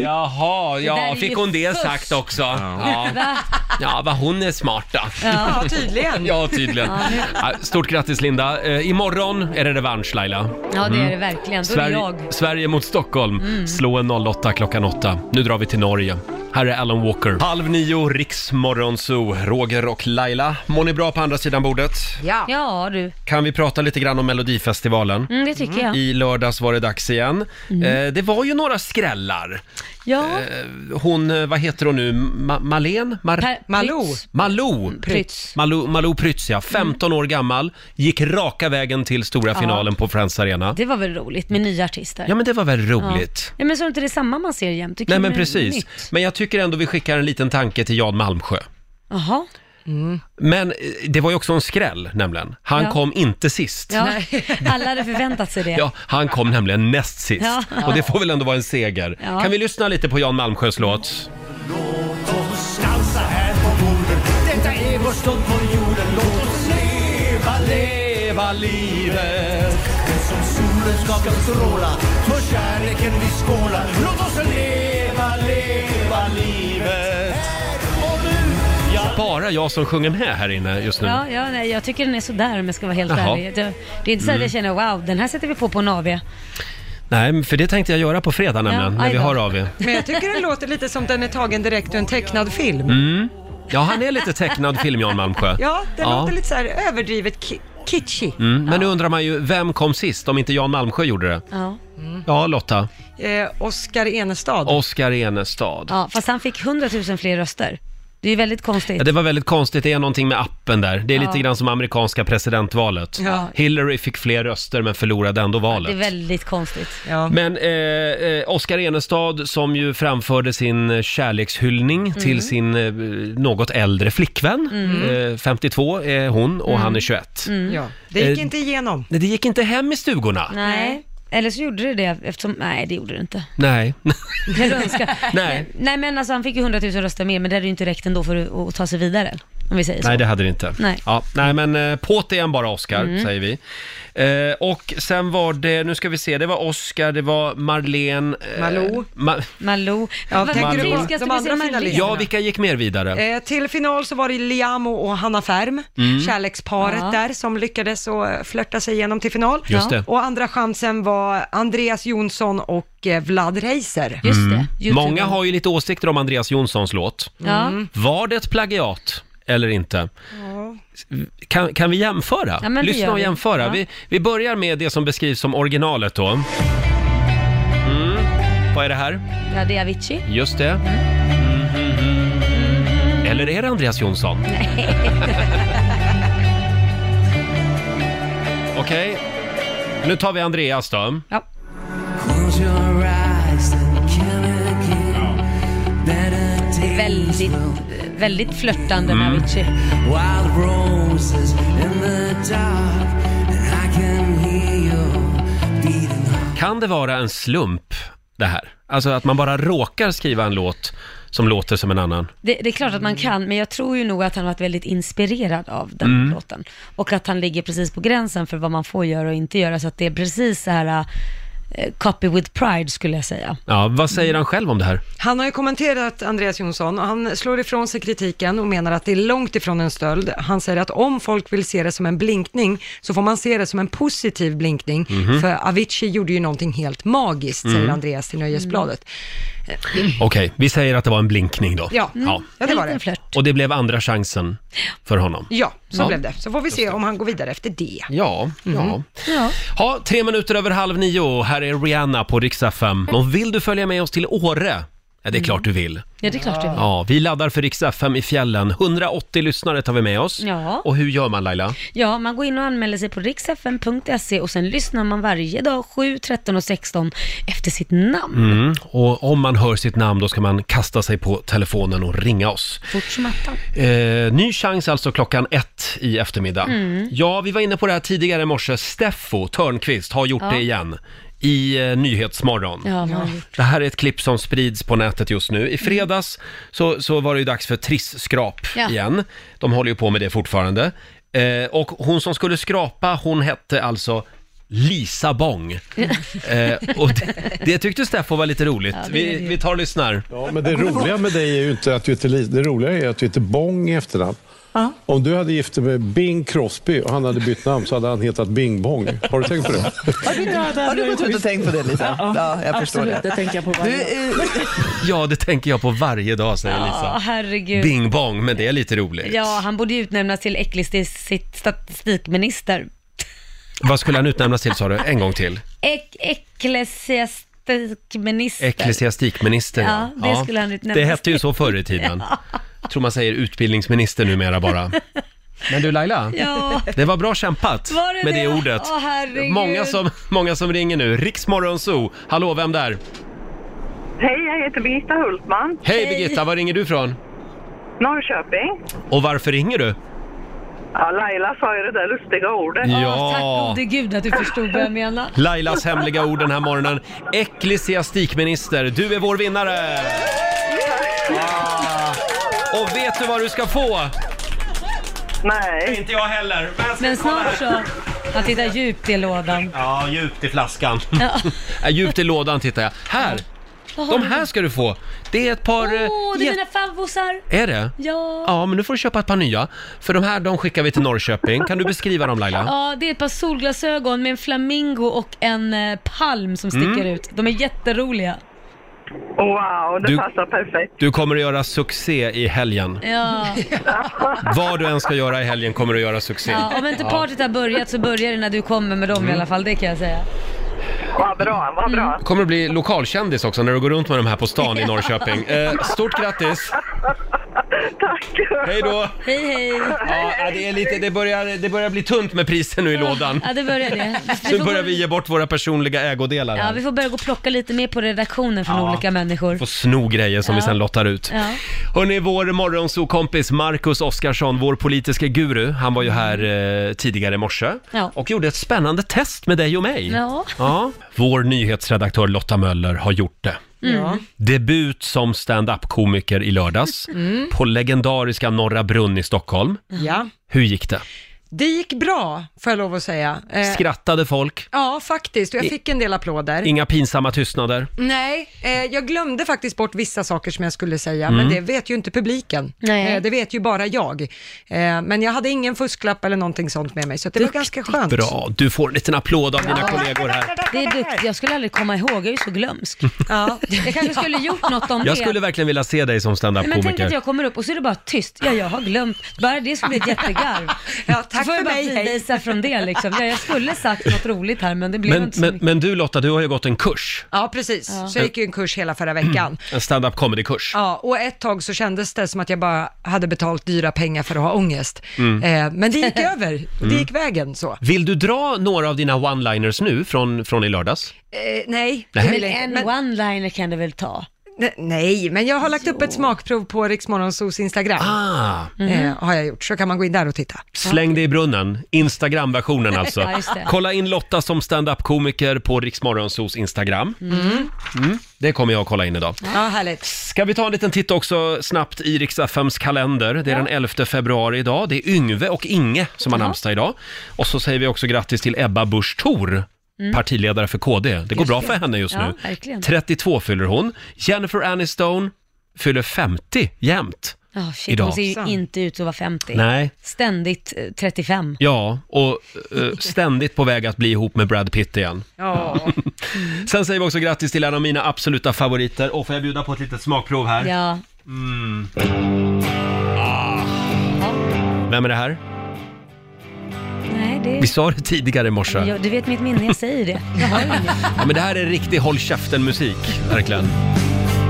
[SPEAKER 12] Jaha,
[SPEAKER 2] Det där är
[SPEAKER 12] ja,
[SPEAKER 2] ju
[SPEAKER 12] fick hon det
[SPEAKER 2] fusk.
[SPEAKER 12] sagt också? Ja,
[SPEAKER 2] Va?
[SPEAKER 12] ja vad hon är smart då.
[SPEAKER 2] Ja, tydligen.
[SPEAKER 12] Ja, tydligen.
[SPEAKER 2] Ja, nu-
[SPEAKER 12] Ja, Stort grattis Linda. Eh, imorgon är det revansch Laila.
[SPEAKER 2] Ja det är det
[SPEAKER 12] Mm.
[SPEAKER 2] verkligen. Då är det jag.
[SPEAKER 12] Sverige, Sverige mot Stockholm.
[SPEAKER 2] Mm.
[SPEAKER 12] Slå en 08 klockan 8. Nu drar vi till Norge. Här är Alan Walker. Halv nio, Riksmorgonzoo. Roger och Laila. Mår ni bra på andra sidan bordet?
[SPEAKER 2] Ja. Ja du.
[SPEAKER 12] Kan vi prata lite grann om Melodifestivalen?
[SPEAKER 2] Mm, det tycker jag.
[SPEAKER 12] I lördags var det dags igen.
[SPEAKER 2] Mm.
[SPEAKER 12] Eh, det var ju några skrällar.
[SPEAKER 2] Ja.
[SPEAKER 12] Eh, hon, eh, vad heter hon nu, Ma- Malén? Mar-
[SPEAKER 2] Per- Mm, Malou. Prytz.
[SPEAKER 12] Malou.
[SPEAKER 2] Prytz.
[SPEAKER 12] Malou, Malou Prytz, ja. 15 år gammal, gick raka vägen till stora
[SPEAKER 2] Mm. Ja.
[SPEAKER 12] finalen på Friends Arena.
[SPEAKER 2] Det var väl roligt med nya artister?
[SPEAKER 12] Ja, men det var väl roligt.
[SPEAKER 2] Ja. Ja, men så är det inte det samma man ser jämt? Det är
[SPEAKER 12] Nej,
[SPEAKER 2] kul
[SPEAKER 12] men
[SPEAKER 2] med
[SPEAKER 12] precis.
[SPEAKER 2] nytt.
[SPEAKER 12] Men jag tycker ändå vi skickar en liten tanke till Jan Malmsjö.
[SPEAKER 2] Jaha.
[SPEAKER 12] Men eh, det var ju också en skräll, nämligen. Han
[SPEAKER 2] Ja.
[SPEAKER 12] kom inte sist.
[SPEAKER 2] Ja, alla hade förväntat sig det.
[SPEAKER 12] Ja, han kom nämligen näst sist.
[SPEAKER 2] Ja.
[SPEAKER 12] Och det får väl ändå vara en seger.
[SPEAKER 2] Ja.
[SPEAKER 12] Kan vi lyssna lite på Jan Malmsjös låt?
[SPEAKER 11] Låt oss dansa här på borden. Detta är vår stund på jorden. Låt oss leva, leva livet. Det som solen skakar stråla. För kärleken vi skålar. Låt oss leva, leva livet. Och nu, ja.
[SPEAKER 12] Bara jag som sjunger med här inne just nu.
[SPEAKER 2] Ja, ja nej, jag tycker den är sådär om jag ska vara helt
[SPEAKER 12] Jaha.
[SPEAKER 2] ärlig. Det, det är inte så att
[SPEAKER 12] Mm.
[SPEAKER 2] jag känner wow, den här sätter vi på på en AV.
[SPEAKER 12] Nej, men för det tänkte jag göra på fredag nämligen, när
[SPEAKER 2] aj
[SPEAKER 12] vi
[SPEAKER 2] då.
[SPEAKER 12] har av er.
[SPEAKER 5] Men jag tycker den låter lite som den är tagen direkt ur en tecknad film.
[SPEAKER 12] Mm. Ja, han är lite tecknad film, Jan Malmsjö.
[SPEAKER 5] Ja, den låter lite så här överdrivet ki- kitschig.
[SPEAKER 12] Mm. Men nu undrar man ju, vem kom sist om inte Jan Malmsjö gjorde det?
[SPEAKER 2] Ja.
[SPEAKER 12] Ja, Lotta.
[SPEAKER 5] Eh, Oskar Enestad.
[SPEAKER 12] Oskar Enestad.
[SPEAKER 2] ja, fast han fick 100 000 fler röster. Det är ju väldigt konstigt.
[SPEAKER 12] Ja, det var väldigt konstigt, det är någonting med appen där. Det är lite
[SPEAKER 2] Ja.
[SPEAKER 12] grann som amerikanska presidentvalet.
[SPEAKER 2] Ja.
[SPEAKER 12] Hillary fick fler röster men förlorade ändå valet.
[SPEAKER 2] Det är väldigt konstigt.
[SPEAKER 12] Men eh, eh, Oskar Enestad som ju framförde sin eh, kärlekshyllning
[SPEAKER 2] Mm.
[SPEAKER 12] till sin eh, något äldre flickvän.
[SPEAKER 5] Mm.
[SPEAKER 12] Eh, 52
[SPEAKER 2] Mm.
[SPEAKER 12] är hon och han är 21.
[SPEAKER 5] Ja, det gick
[SPEAKER 12] Eh,
[SPEAKER 5] inte igenom.
[SPEAKER 12] Nej, Det gick inte hem i stugorna.
[SPEAKER 2] Nej. Eller så gjorde det det eftersom, nej det gjorde det inte.
[SPEAKER 12] Nej.
[SPEAKER 2] Jag önskar.
[SPEAKER 12] Nej.
[SPEAKER 2] nej men alltså han fick ju 100 000 röster mer, men det hade ju inte räckt ändå för att- att ta sig vidare. Om vi säger så.
[SPEAKER 12] Nej, det hade det inte.
[SPEAKER 2] Nej.
[SPEAKER 12] Ja, nej men eh, på't igen bara Oscar,
[SPEAKER 2] Mm.
[SPEAKER 12] säger vi. Eh, och sen var det, nu ska vi se, det var Oscar, det var Marlene... Eh,
[SPEAKER 5] Malou.
[SPEAKER 12] Ma-
[SPEAKER 2] Malou.
[SPEAKER 5] Ja,
[SPEAKER 12] Vad-
[SPEAKER 5] tänker du
[SPEAKER 12] Malou.
[SPEAKER 5] på de
[SPEAKER 2] vi säga
[SPEAKER 5] andra
[SPEAKER 2] Marlene?
[SPEAKER 5] finalisterna?
[SPEAKER 12] ja, vilka gick mer vidare?
[SPEAKER 5] Eh, till final så var det Liamo och Hanna Färm,
[SPEAKER 12] Mm.
[SPEAKER 5] kärleksparet
[SPEAKER 12] Ja.
[SPEAKER 5] där, som lyckades och eh, flörta sig igenom till final.
[SPEAKER 12] Just det.
[SPEAKER 5] Och andra chansen var Andreas Jonsson och eh, Vlad Reiser.
[SPEAKER 12] Mm. Många har ju lite åsikter om Andreas Jonssons låt.
[SPEAKER 5] Ja. Mm.
[SPEAKER 12] Var det ett plagiat eller inte?
[SPEAKER 5] Ja.
[SPEAKER 12] Kan, kan vi jämföra?
[SPEAKER 5] Ja, men det
[SPEAKER 12] Lyssna
[SPEAKER 5] gör
[SPEAKER 12] och
[SPEAKER 5] vi.
[SPEAKER 12] jämföra.
[SPEAKER 5] Ja.
[SPEAKER 12] Vi, vi börjar med det som beskrivs som originalet då. Mm. Vad är det här?
[SPEAKER 2] Ja, det är Avicii.
[SPEAKER 12] Just det. Mm-hmm. Eller är det Andreas Jonsson? Okej, nu tar vi Andreas då.
[SPEAKER 11] Close your eyes and kill again. Better
[SPEAKER 2] Det är väldigt, väldigt
[SPEAKER 12] Mm.
[SPEAKER 2] flörtande med Avicii.
[SPEAKER 11] wild roses in the dark. And I can hear you beating
[SPEAKER 12] Kan det vara en slump det här? Alltså att man bara råkar skriva en låt som låter som en annan?
[SPEAKER 2] Det, det är klart att man kan, men jag tror ju nog att han varit väldigt inspirerad av den
[SPEAKER 12] Mm.
[SPEAKER 2] låten. Och att han ligger precis på gränsen för vad man får göra och inte göra. Så att det är precis så här, eh, copy with pride skulle jag säga.
[SPEAKER 12] Ja, vad säger han själv om det här?
[SPEAKER 5] Han har ju kommenterat Andreas Jonsson och han slår ifrån sig kritiken och menar att det är långt ifrån en stöld. Han säger att om folk vill se det som en blinkning så får man se det som en positiv blinkning
[SPEAKER 12] Mhm.
[SPEAKER 5] för Avicii gjorde ju någonting helt magiskt,
[SPEAKER 12] Mm.
[SPEAKER 5] säger Andreas till Nöjesbladet.
[SPEAKER 12] Okej, vi säger att det var en blinkning då.
[SPEAKER 5] Ja, ja det var det.
[SPEAKER 12] Och det blev andra chansen för honom.
[SPEAKER 5] Ja, så
[SPEAKER 12] Ja.
[SPEAKER 5] blev det. Så får vi se om han går vidare efter det.
[SPEAKER 12] Ja, ja. Ha, tre minuter över halv nio. Här är Rihanna på Rix FM. Och vill du följa med oss till Åre? Ja, det är klart du vill.
[SPEAKER 2] Ja, det är klart det var.
[SPEAKER 12] Ja, vi laddar för Rix FM i fjällen. 180 lyssnare tar vi med oss.
[SPEAKER 2] Ja.
[SPEAKER 12] Och hur gör man Laila?
[SPEAKER 2] Ja, man går in och anmäler sig på riksfn.se och sen lyssnar man varje dag 7, 13 och 16 efter sitt namn.
[SPEAKER 12] Mm. Och om man hör sitt namn då ska man kasta sig på telefonen och ringa oss.
[SPEAKER 2] Fort som attan.
[SPEAKER 12] Eh, ny chans alltså klockan ett i eftermiddag.
[SPEAKER 2] Mm.
[SPEAKER 12] Ja, vi var inne på det här tidigare i morse. Steffo Törnqvist har gjort
[SPEAKER 2] Ja.
[SPEAKER 12] det igen i eh, Nyhetsmorgon.
[SPEAKER 2] Ja, vad har han gjort?
[SPEAKER 12] Ah, Det här är ett klipp som sprids på nätet just nu. I fredags så, så var det ju dags för Triss-skrap
[SPEAKER 2] Ja.
[SPEAKER 12] igen. De håller ju på med det fortfarande. Eh, och hon som skulle skrapa, hon hette alltså Lisa Bong. Eh, och det, det tyckte Steffo var lite roligt.
[SPEAKER 9] Ja, det är
[SPEAKER 12] vi,
[SPEAKER 9] det ju.
[SPEAKER 12] vi tar och lyssnar.
[SPEAKER 9] Ja, men det roliga med dig är ju inte att du heter Lisa, det roliga är att du heter Bong i efternamn. Om du hade gift dig med Bing Crosby och han hade bytt namn så hade han hetat Bing Bong. Har du tänkt på det?
[SPEAKER 1] Har du, har du gått ut och tänkt på det Lisa? Ja, jag förstår
[SPEAKER 12] absolut.
[SPEAKER 1] det.
[SPEAKER 12] Det
[SPEAKER 1] tänker jag på varje du, eh,
[SPEAKER 12] Ja, det tänker jag på varje dag, säger
[SPEAKER 2] Ja,
[SPEAKER 12] Lisa.
[SPEAKER 2] herregud.
[SPEAKER 12] Bing Bong, men det är lite roligt.
[SPEAKER 2] Ja, han borde ju utnämnas till äcklig- statistikminister.
[SPEAKER 12] Vad skulle han utnämnas till, sa du? En gång till?
[SPEAKER 2] Ek- Ecklesiastikminister.
[SPEAKER 12] Ecklesiastikminister,
[SPEAKER 2] Ja, det skulle han utnämnas
[SPEAKER 12] Det hette ju så förr i tiden.
[SPEAKER 2] Ja.
[SPEAKER 12] Jag tror man säger utbildningsminister numera bara. Men du Laila,
[SPEAKER 2] Ja.
[SPEAKER 12] det var bra kämpat
[SPEAKER 2] Var det
[SPEAKER 12] med det,
[SPEAKER 2] det?
[SPEAKER 12] ordet.
[SPEAKER 2] Åh, herregud.
[SPEAKER 12] många, som, många som ringer nu. Riksmorgon Zoo. Hallå, vem där?
[SPEAKER 4] Hej, jag heter Birgitta Hultman.
[SPEAKER 12] Hej Birgitta, var ringer du ifrån?
[SPEAKER 4] Norrköping.
[SPEAKER 12] Och varför ringer du?
[SPEAKER 4] Ja, Laila sa ju det där lustiga ordet.
[SPEAKER 12] Ja. Tack gode
[SPEAKER 2] gud att du förstod vad jag menar.
[SPEAKER 12] Lailas hemliga ord den här morgonen. Ecklesiastikminister, du är vår vinnare! Ah. Och vet du vad du ska få?
[SPEAKER 4] Nej.
[SPEAKER 12] Inte jag heller.
[SPEAKER 2] Men snart så. Han tittar djupt i lådan.
[SPEAKER 12] Ja, djupt i flaskan.
[SPEAKER 2] Ja.
[SPEAKER 12] Ja, djupt i lådan tittar jag. Här!
[SPEAKER 2] Vad har
[SPEAKER 12] De
[SPEAKER 2] du?
[SPEAKER 12] här ska du få. Det är ett par... eh,
[SPEAKER 2] Åh, det är
[SPEAKER 12] jä-
[SPEAKER 2] mina favvosar.
[SPEAKER 12] Är det?
[SPEAKER 2] Ja.
[SPEAKER 12] Ja, men nu får du köpa ett par nya. För de här, de skickar vi till Norrköping. Kan du beskriva dem Laila?
[SPEAKER 2] Ja, det är ett par solglasögon med en flamingo och en eh, palm som sticker
[SPEAKER 12] Mm.
[SPEAKER 2] ut. De är jätteroliga.
[SPEAKER 4] Wow, det
[SPEAKER 12] Du-
[SPEAKER 4] passar perfekt.
[SPEAKER 12] Du kommer att göra succé i helgen.
[SPEAKER 2] Ja.
[SPEAKER 12] Vad du än ska göra i helgen kommer du att göra succé.
[SPEAKER 2] ja, om inte partyt har börjat så börjar det när du kommer med dem
[SPEAKER 12] Mm.
[SPEAKER 2] i alla fall, det kan jag säga.
[SPEAKER 4] Vad bra, vad bra.
[SPEAKER 12] Du kommer att bli lokalkändis också när du går runt med de här på stan i Norrköping. Eh, stort grattis!
[SPEAKER 4] Tack!
[SPEAKER 12] Hej då!
[SPEAKER 2] Hej hej.
[SPEAKER 12] Ja, det, är lite, det, börjar, det börjar bli tunt med priser nu i lådan.
[SPEAKER 2] Ja, det börjar det. Vi
[SPEAKER 12] Nu
[SPEAKER 2] får
[SPEAKER 12] börjar
[SPEAKER 2] gå-
[SPEAKER 12] vi ge bort våra personliga ägodelar.
[SPEAKER 2] Ja,
[SPEAKER 12] här.
[SPEAKER 2] vi får börja gå och plocka lite mer på redaktionen från
[SPEAKER 12] Ja.
[SPEAKER 2] olika människor.
[SPEAKER 12] Får sno grejer som vi
[SPEAKER 2] Ja.
[SPEAKER 12] sen lottar ut.
[SPEAKER 2] Ja.
[SPEAKER 12] Hörni, vår morgonsokompis Marcus Oskarsson, vår politiska guru, han var ju här eh, tidigare i morse
[SPEAKER 2] Ja.
[SPEAKER 12] och gjorde ett spännande test med dig och mig.
[SPEAKER 2] Ja.
[SPEAKER 12] Ja. Vår nyhetsredaktör Lotta Möller har gjort det.
[SPEAKER 2] Mm.
[SPEAKER 12] Debut som stand-up-komiker i lördags
[SPEAKER 5] Mm.
[SPEAKER 12] på legendariska Norra Brunn i Stockholm.
[SPEAKER 5] Ja.
[SPEAKER 12] Hur gick det?
[SPEAKER 5] Det gick bra, får jag lov att säga. Eh,
[SPEAKER 12] Skrattade folk?
[SPEAKER 5] Ja, faktiskt. Och jag fick en del applåder.
[SPEAKER 12] Inga pinsamma tystnader?
[SPEAKER 5] Nej, eh, jag glömde faktiskt bort vissa saker som jag skulle säga,
[SPEAKER 12] Mm.
[SPEAKER 5] men det vet ju inte publiken.
[SPEAKER 2] Nej.
[SPEAKER 5] Eh, det vet ju bara jag. Eh, men jag hade ingen fusklapp eller någonting sånt med mig, så att det var ganska skönt.
[SPEAKER 12] Bra, du får en liten applåd av dina kollegor här.
[SPEAKER 2] Det är duktigt. Jag skulle aldrig komma ihåg, jag är ju så glömsk. Ja. Jag kanske skulle gjort något om
[SPEAKER 12] Jag
[SPEAKER 2] det.
[SPEAKER 12] skulle verkligen vilja se dig som
[SPEAKER 2] Nej, men tänk att
[SPEAKER 12] standup-komiker.
[SPEAKER 2] jag kommer upp och så är det bara tyst. Ja, jag har glömt. Bara det skulle bli ett jättegarv. Ja, tack så får jag bara fridisa från det liksom. Ja, jag skulle sagt något roligt här men det blev
[SPEAKER 12] Men,
[SPEAKER 2] inte så
[SPEAKER 12] men,
[SPEAKER 2] mycket.
[SPEAKER 12] men du Lotta, du har ju gått en kurs.
[SPEAKER 5] Ja, precis.
[SPEAKER 2] Ja.
[SPEAKER 5] Så jag gick ju en kurs hela förra veckan.
[SPEAKER 12] En stand-up comedy-kurs.
[SPEAKER 5] Ja, och ett tag så kändes det som att jag bara hade betalt dyra pengar för att ha ångest.
[SPEAKER 12] Mm.
[SPEAKER 5] Eh, men det gick över, det
[SPEAKER 12] Mm.
[SPEAKER 5] gick vägen så.
[SPEAKER 12] Vill du dra några av dina one-liners nu från, från i lördags?
[SPEAKER 5] Eh, nej,
[SPEAKER 12] Nej.
[SPEAKER 5] det vill jag inte.
[SPEAKER 2] En one-liner kan du väl ta?
[SPEAKER 5] Ne- Nej, men jag har lagt upp ett smakprov på Riksmorgonsos Instagram.
[SPEAKER 12] Ah.
[SPEAKER 5] Eh, har jag gjort, så kan man gå in där och titta.
[SPEAKER 12] Släng det i brunnen, Instagram-versionen alltså.
[SPEAKER 5] Ja, just det.
[SPEAKER 12] Kolla in Lotta som stand-up-komiker på Riksmorgonsos Instagram.
[SPEAKER 5] Mm.
[SPEAKER 12] Mm, det kommer jag att kolla in idag.
[SPEAKER 5] Ja, härligt.
[SPEAKER 12] Ska vi ta en liten titt också snabbt i riks kalender. Det är den 11 februari idag. Det är Yngve och Inge som har namnsdag idag. Och så säger vi också grattis till Ebba Busch Thor.
[SPEAKER 2] Mm.
[SPEAKER 12] Partiledare för KD. Det går
[SPEAKER 2] Just
[SPEAKER 12] bra
[SPEAKER 2] det.
[SPEAKER 12] för henne just
[SPEAKER 2] Ja,
[SPEAKER 12] nu.
[SPEAKER 2] verkligen.
[SPEAKER 12] 32 fyller hon. Jennifer Aniston fyller 50 jämt.
[SPEAKER 2] Ja, shit,
[SPEAKER 12] Idag.
[SPEAKER 2] hon ser ju inte ut att vara 50.
[SPEAKER 12] Nej.
[SPEAKER 2] Ständigt eh, 35.
[SPEAKER 12] Ja, och eh, ständigt på väg att bli ihop med Brad Pitt igen.
[SPEAKER 2] Ja.
[SPEAKER 12] Sen säger vi också grattis till en av mina absoluta favoriter. Och får jag bjuda på ett litet smakprov här?
[SPEAKER 2] Ja.
[SPEAKER 12] Mm. Ah. Vem är det här?
[SPEAKER 2] Nej, det...
[SPEAKER 12] Vi sa det tidigare i morse.
[SPEAKER 2] Ja, du vet mitt minne, jag säger det. Jag har inget.
[SPEAKER 12] Ja, men det här är riktig håll käften-musik, verkligen.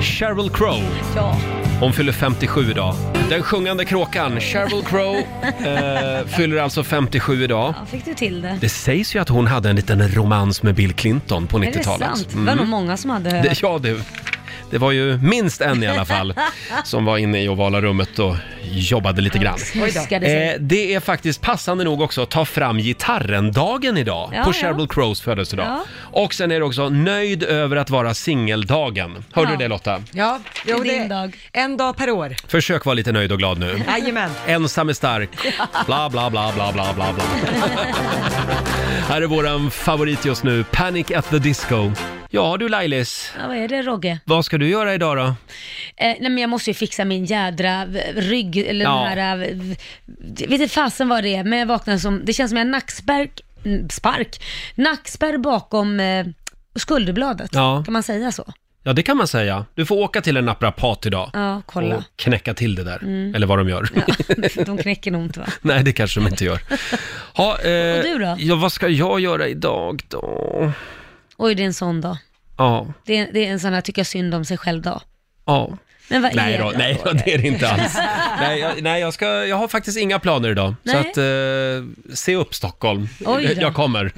[SPEAKER 12] Sheryl Crow.
[SPEAKER 2] Ja.
[SPEAKER 12] Hon fyller 57 idag. Den sjungande kråkan, Sheryl Crow, eh, fyller alltså 57 idag.
[SPEAKER 2] Ja, fick du till det?
[SPEAKER 12] Det sägs ju att hon hade en liten romans med Bill Clinton på
[SPEAKER 2] Är det
[SPEAKER 12] 90-talet.
[SPEAKER 2] sant? Det var nog många som hade hört.
[SPEAKER 12] Mm. Det, ja, det, det var ju minst en i alla fall som var inne i ovala rummet och jobbade lite grann.
[SPEAKER 2] Oj då.
[SPEAKER 12] Eh, det är faktiskt passande nog också att ta fram gitarren-dagen idag
[SPEAKER 2] Ja,
[SPEAKER 12] på
[SPEAKER 2] ja.
[SPEAKER 12] Sheryl Crows födelsedag.
[SPEAKER 5] Ja.
[SPEAKER 12] Och sen är det också nöjd över att vara singeldagen. Hörde
[SPEAKER 5] Ja.
[SPEAKER 12] du det Lotta?
[SPEAKER 5] Ja, jo, det är en dag per år.
[SPEAKER 12] Försök vara lite nöjd och glad nu.
[SPEAKER 5] Jajamän.
[SPEAKER 12] Ensam är stark. Bla, bla, bla, bla, bla, bla, bla. Här är våran favorit just nu, Panic at the Disco. Ja du Lailis,
[SPEAKER 2] Ja, vad är det Rogge?
[SPEAKER 12] vad ska du göra idag då?
[SPEAKER 2] Eh, nej men jag måste ju fixa min jädra v- rygg, eller
[SPEAKER 12] Ja.
[SPEAKER 2] den här, eh, v- vet inte fasen vad det är, men jag vaknade som, det känns som jag har nackspärk, n- spark, nackspärr bakom eh, skulderbladet.
[SPEAKER 12] Ja.
[SPEAKER 2] Kan man säga så?
[SPEAKER 12] Ja, det kan man säga. Du får åka till en naprapat idag.
[SPEAKER 2] Ja, kolla.
[SPEAKER 12] Och knäcka till det där.
[SPEAKER 2] Mm.
[SPEAKER 12] Eller vad de gör.
[SPEAKER 2] De knäcker nog inte va?
[SPEAKER 12] Nej, det kanske de inte gör. Ha, eh,
[SPEAKER 2] Och du då?
[SPEAKER 12] Ja, vad ska jag göra idag då?
[SPEAKER 2] Oj, det är en sån dag.
[SPEAKER 12] Ja,
[SPEAKER 2] Det är, det är en sån här tycka synd om sig själv-dag.
[SPEAKER 12] ja.
[SPEAKER 2] Men vad
[SPEAKER 12] nej
[SPEAKER 2] är
[SPEAKER 12] då,
[SPEAKER 2] det
[SPEAKER 12] nej
[SPEAKER 2] då?
[SPEAKER 12] då, det är det inte alls. nej, jag, nej jag, ska, jag har faktiskt inga planer idag.
[SPEAKER 2] Nej.
[SPEAKER 12] Så att, eh, se upp Stockholm.
[SPEAKER 2] Oj då.
[SPEAKER 12] Jag kommer.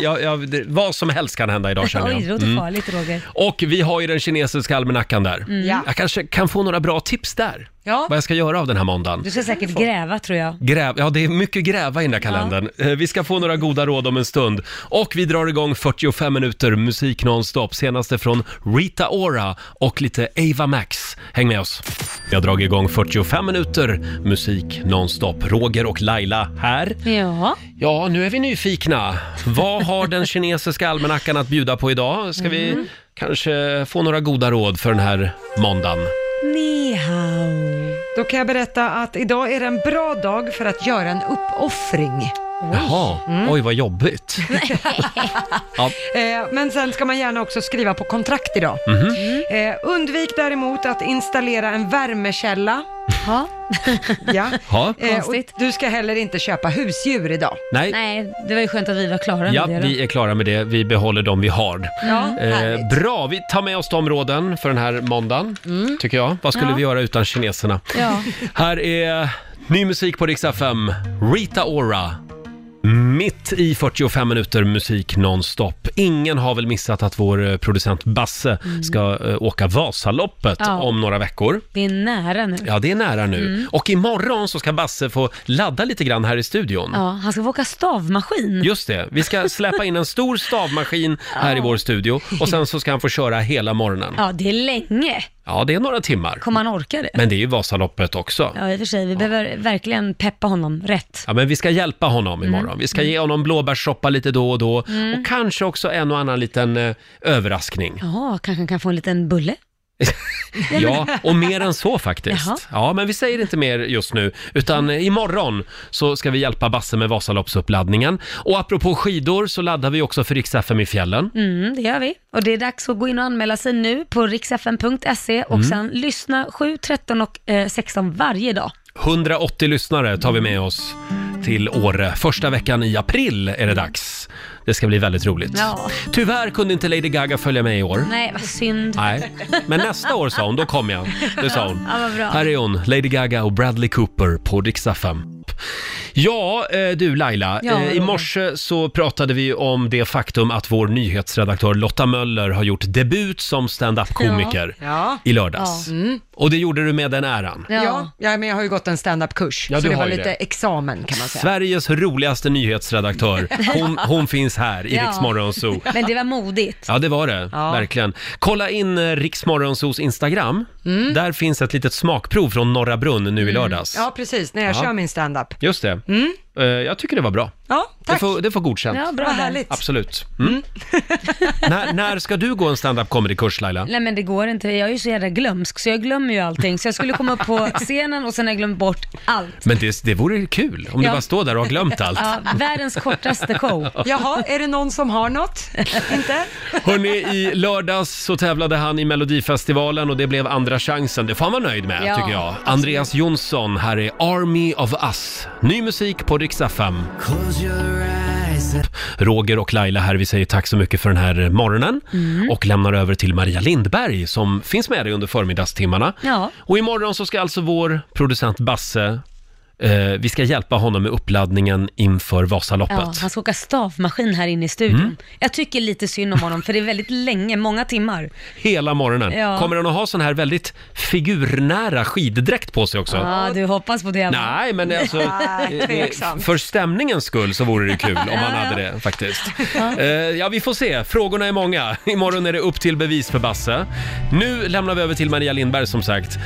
[SPEAKER 12] jag, jag, det, vad som helst kan hända idag känner jag.
[SPEAKER 2] Oj, det låter
[SPEAKER 12] Mm.
[SPEAKER 2] farligt Roger.
[SPEAKER 12] Och vi har ju den kinesiska almanackan där.
[SPEAKER 2] Mm. Ja.
[SPEAKER 12] Jag kanske kan få några bra tips där.
[SPEAKER 2] Ja.
[SPEAKER 12] Vad jag ska göra av den här måndagen.
[SPEAKER 2] Du ska säkert gräva tror jag.
[SPEAKER 12] Gräv, ja, det är mycket gräva i den där kalendern. Eh, Vi ska få några goda råd om en stund. Och vi drar igång 45 minuter musik nonstop. Senaste från Rita Ora och lite Ava Max. Häng med oss. Vi har dragit igång 45 minuter musik nonstop. Roger och Laila här.
[SPEAKER 2] Ja.
[SPEAKER 12] Ja, nu är vi nyfikna. Vad har den kinesiska almanackan att bjuda på idag? Ska vi
[SPEAKER 2] Mm.
[SPEAKER 12] kanske få några goda råd för den här måndagen?
[SPEAKER 2] Ni hao.
[SPEAKER 5] Då kan jag berätta att idag är det en bra dag för att göra en uppoffring.
[SPEAKER 12] Jaha,
[SPEAKER 5] Mm.
[SPEAKER 12] oj vad jobbigt. ja.
[SPEAKER 5] Eh, men sen ska man gärna också skriva på kontrakt idag. Mm.
[SPEAKER 12] mhm.
[SPEAKER 5] Eh, undvik däremot att installera en värmekälla
[SPEAKER 2] Ja.
[SPEAKER 5] ja.
[SPEAKER 12] Ja.
[SPEAKER 5] Eh, och du ska heller inte köpa husdjur idag.
[SPEAKER 12] Nej.
[SPEAKER 2] Nej, det var ju skönt att vi var klara med
[SPEAKER 12] Ja,
[SPEAKER 2] det då.
[SPEAKER 12] vi är klara med det. Vi behåller dem vi har.
[SPEAKER 2] Ja,
[SPEAKER 12] eh, bra, vi tar med oss de råden för den här måndagen, tycker jag. Vad skulle
[SPEAKER 2] Mm. Ja.
[SPEAKER 12] vi göra utan kineserna?
[SPEAKER 2] Ja.
[SPEAKER 12] Här är ny musik på Rix FM. Rita Ora. Mitt i 45 minuter musik nonstop. Ingen har väl missat att vår eh, producent Basse ska eh, åka Vasaloppet
[SPEAKER 2] Mm. Ja.
[SPEAKER 12] om några veckor.
[SPEAKER 2] Det är nära nu.
[SPEAKER 12] Ja, det är nära nu.
[SPEAKER 2] Mm.
[SPEAKER 12] Och imorgon så ska Basse få ladda lite grann här i studion.
[SPEAKER 2] Ja, han ska få åka stavmaskin.
[SPEAKER 12] Just det, vi ska släppa in en stor stavmaskin här i vår studio och sen så ska han få köra hela morgonen.
[SPEAKER 2] Ja, det är länge.
[SPEAKER 12] Ja, det är några timmar.
[SPEAKER 2] Kommer han orka det?
[SPEAKER 12] Men det är ju Vasaloppet också.
[SPEAKER 2] Ja, i och för sig. Vi behöver verkligen peppa honom rätt.
[SPEAKER 12] Ja, men vi ska hjälpa honom imorgon.
[SPEAKER 2] Mm.
[SPEAKER 12] Vi ska ge honom blåbärssoppa lite då och då
[SPEAKER 2] Mm.
[SPEAKER 12] och kanske också en och annan liten eh, överraskning.
[SPEAKER 2] Ja, kanske han kan få en liten bulle?
[SPEAKER 12] Ja, och mer än så faktiskt.
[SPEAKER 2] Jaha.
[SPEAKER 12] Ja, men vi säger inte mer just nu, utan eh, imorgon så ska vi hjälpa Basse med Vasaloppsuppladdningen. Och apropå skidor så laddar vi också för riks FM i fjällen.
[SPEAKER 2] Mm, det gör vi. Och det är dags att gå in och anmäla sig nu på riksfn.se och
[SPEAKER 12] Mm.
[SPEAKER 2] sen lyssna 7, 13 och eh, 16 varje dag.
[SPEAKER 12] 180 lyssnare tar vi med oss till Åre. Första veckan i april är det dags. Det ska bli väldigt roligt.
[SPEAKER 2] Ja.
[SPEAKER 12] Tyvärr kunde inte Lady Gaga följa med i år.
[SPEAKER 2] Nej, vad synd.
[SPEAKER 12] Nej. Men nästa år sa hon, då kommer jag. Det sa hon.
[SPEAKER 2] Ja, vad bra.
[SPEAKER 12] Här är hon, Lady Gaga och Bradley Cooper på Dixa 5. Ja, eh, du Laila,
[SPEAKER 2] Ja,
[SPEAKER 12] eh, i
[SPEAKER 2] Roger.
[SPEAKER 12] morse så pratade vi om det faktum att vår nyhetsredaktör Lotta Möller har gjort debut som stand-up-komiker
[SPEAKER 5] Ja.
[SPEAKER 12] i lördags.
[SPEAKER 5] Ja. Mm.
[SPEAKER 12] Och det gjorde du med den äran.
[SPEAKER 5] Ja. Ja, men jag har ju gått en stand-up-kurs,
[SPEAKER 12] Ja,
[SPEAKER 5] så
[SPEAKER 12] du
[SPEAKER 5] det
[SPEAKER 12] har
[SPEAKER 5] var
[SPEAKER 12] ju
[SPEAKER 5] lite
[SPEAKER 12] det.
[SPEAKER 5] examen kan man säga.
[SPEAKER 12] Sveriges roligaste nyhetsredaktör. Hon, hon finns här i
[SPEAKER 2] Ja.
[SPEAKER 12] Riksmorgon Zoo.
[SPEAKER 2] Men det var modigt.
[SPEAKER 12] Ja, det var det. Verkligen. Kolla in eh, Riksmorgonsos Instagram.
[SPEAKER 2] Mm.
[SPEAKER 12] Där finns ett litet smakprov från Norra Brunn nu i lördags.
[SPEAKER 5] Ja, precis, när jag
[SPEAKER 12] Ja.
[SPEAKER 5] kör min stand-up.
[SPEAKER 12] Just det. Eh, Jag tycker det var bra.
[SPEAKER 5] Ja,
[SPEAKER 12] Det får, det får godkänt.
[SPEAKER 2] Mm. Ja, bra
[SPEAKER 5] Vad
[SPEAKER 2] där.
[SPEAKER 5] härligt.
[SPEAKER 12] Absolut. Mm. när, när ska du gå en stand-up comedy-kurs Laila?
[SPEAKER 2] Nej men det går inte, jag är ju så jävla glömsk så jag glömmer ju allting. Så jag skulle komma upp på scenen och sen har jag glömt bort allt.
[SPEAKER 12] Men det, det vore kul om
[SPEAKER 2] Ja.
[SPEAKER 12] du bara står där och har glömt allt.
[SPEAKER 2] Ja, världens kortaste show.
[SPEAKER 5] Jaha, är det någon som har något? Inte?
[SPEAKER 12] Hörrni, i lördags så tävlade han i Melodifestivalen och det blev andra chansen. Det får han vara nöjd med,
[SPEAKER 19] Ja.
[SPEAKER 12] tycker jag. Andreas Jonsson, här är Army of Us. Ny musik på Rix FM. Roger och Laila här, vi säger tack så mycket för den här morgonen
[SPEAKER 19] Mm.
[SPEAKER 12] och lämnar över till Maria Lindberg som finns med dig under förmiddagstimmarna.
[SPEAKER 19] Ja.
[SPEAKER 12] Och imorgon så ska alltså vår producent Basse, eh, vi ska hjälpa honom med uppladdningen inför Vasaloppet.
[SPEAKER 2] Ja, han ska åka stavmaskin här inne i studion.
[SPEAKER 12] Mm.
[SPEAKER 2] Jag tycker lite synd om honom för det är väldigt länge, många timmar.
[SPEAKER 12] Hela morgonen.
[SPEAKER 2] Ja.
[SPEAKER 12] Kommer han att ha sån här väldigt figurnära skiddräkt på sig också?
[SPEAKER 2] Ja, du hoppas på det. va?
[SPEAKER 12] Nej, men alltså, eh, eh, för stämningens skull så vore det kul om han hade det faktiskt. Eh, Ja, vi får se. Frågorna är många. Imorgon är det upp till bevis för Basse. Nu lämnar vi över till Maria Lindberg som sagt.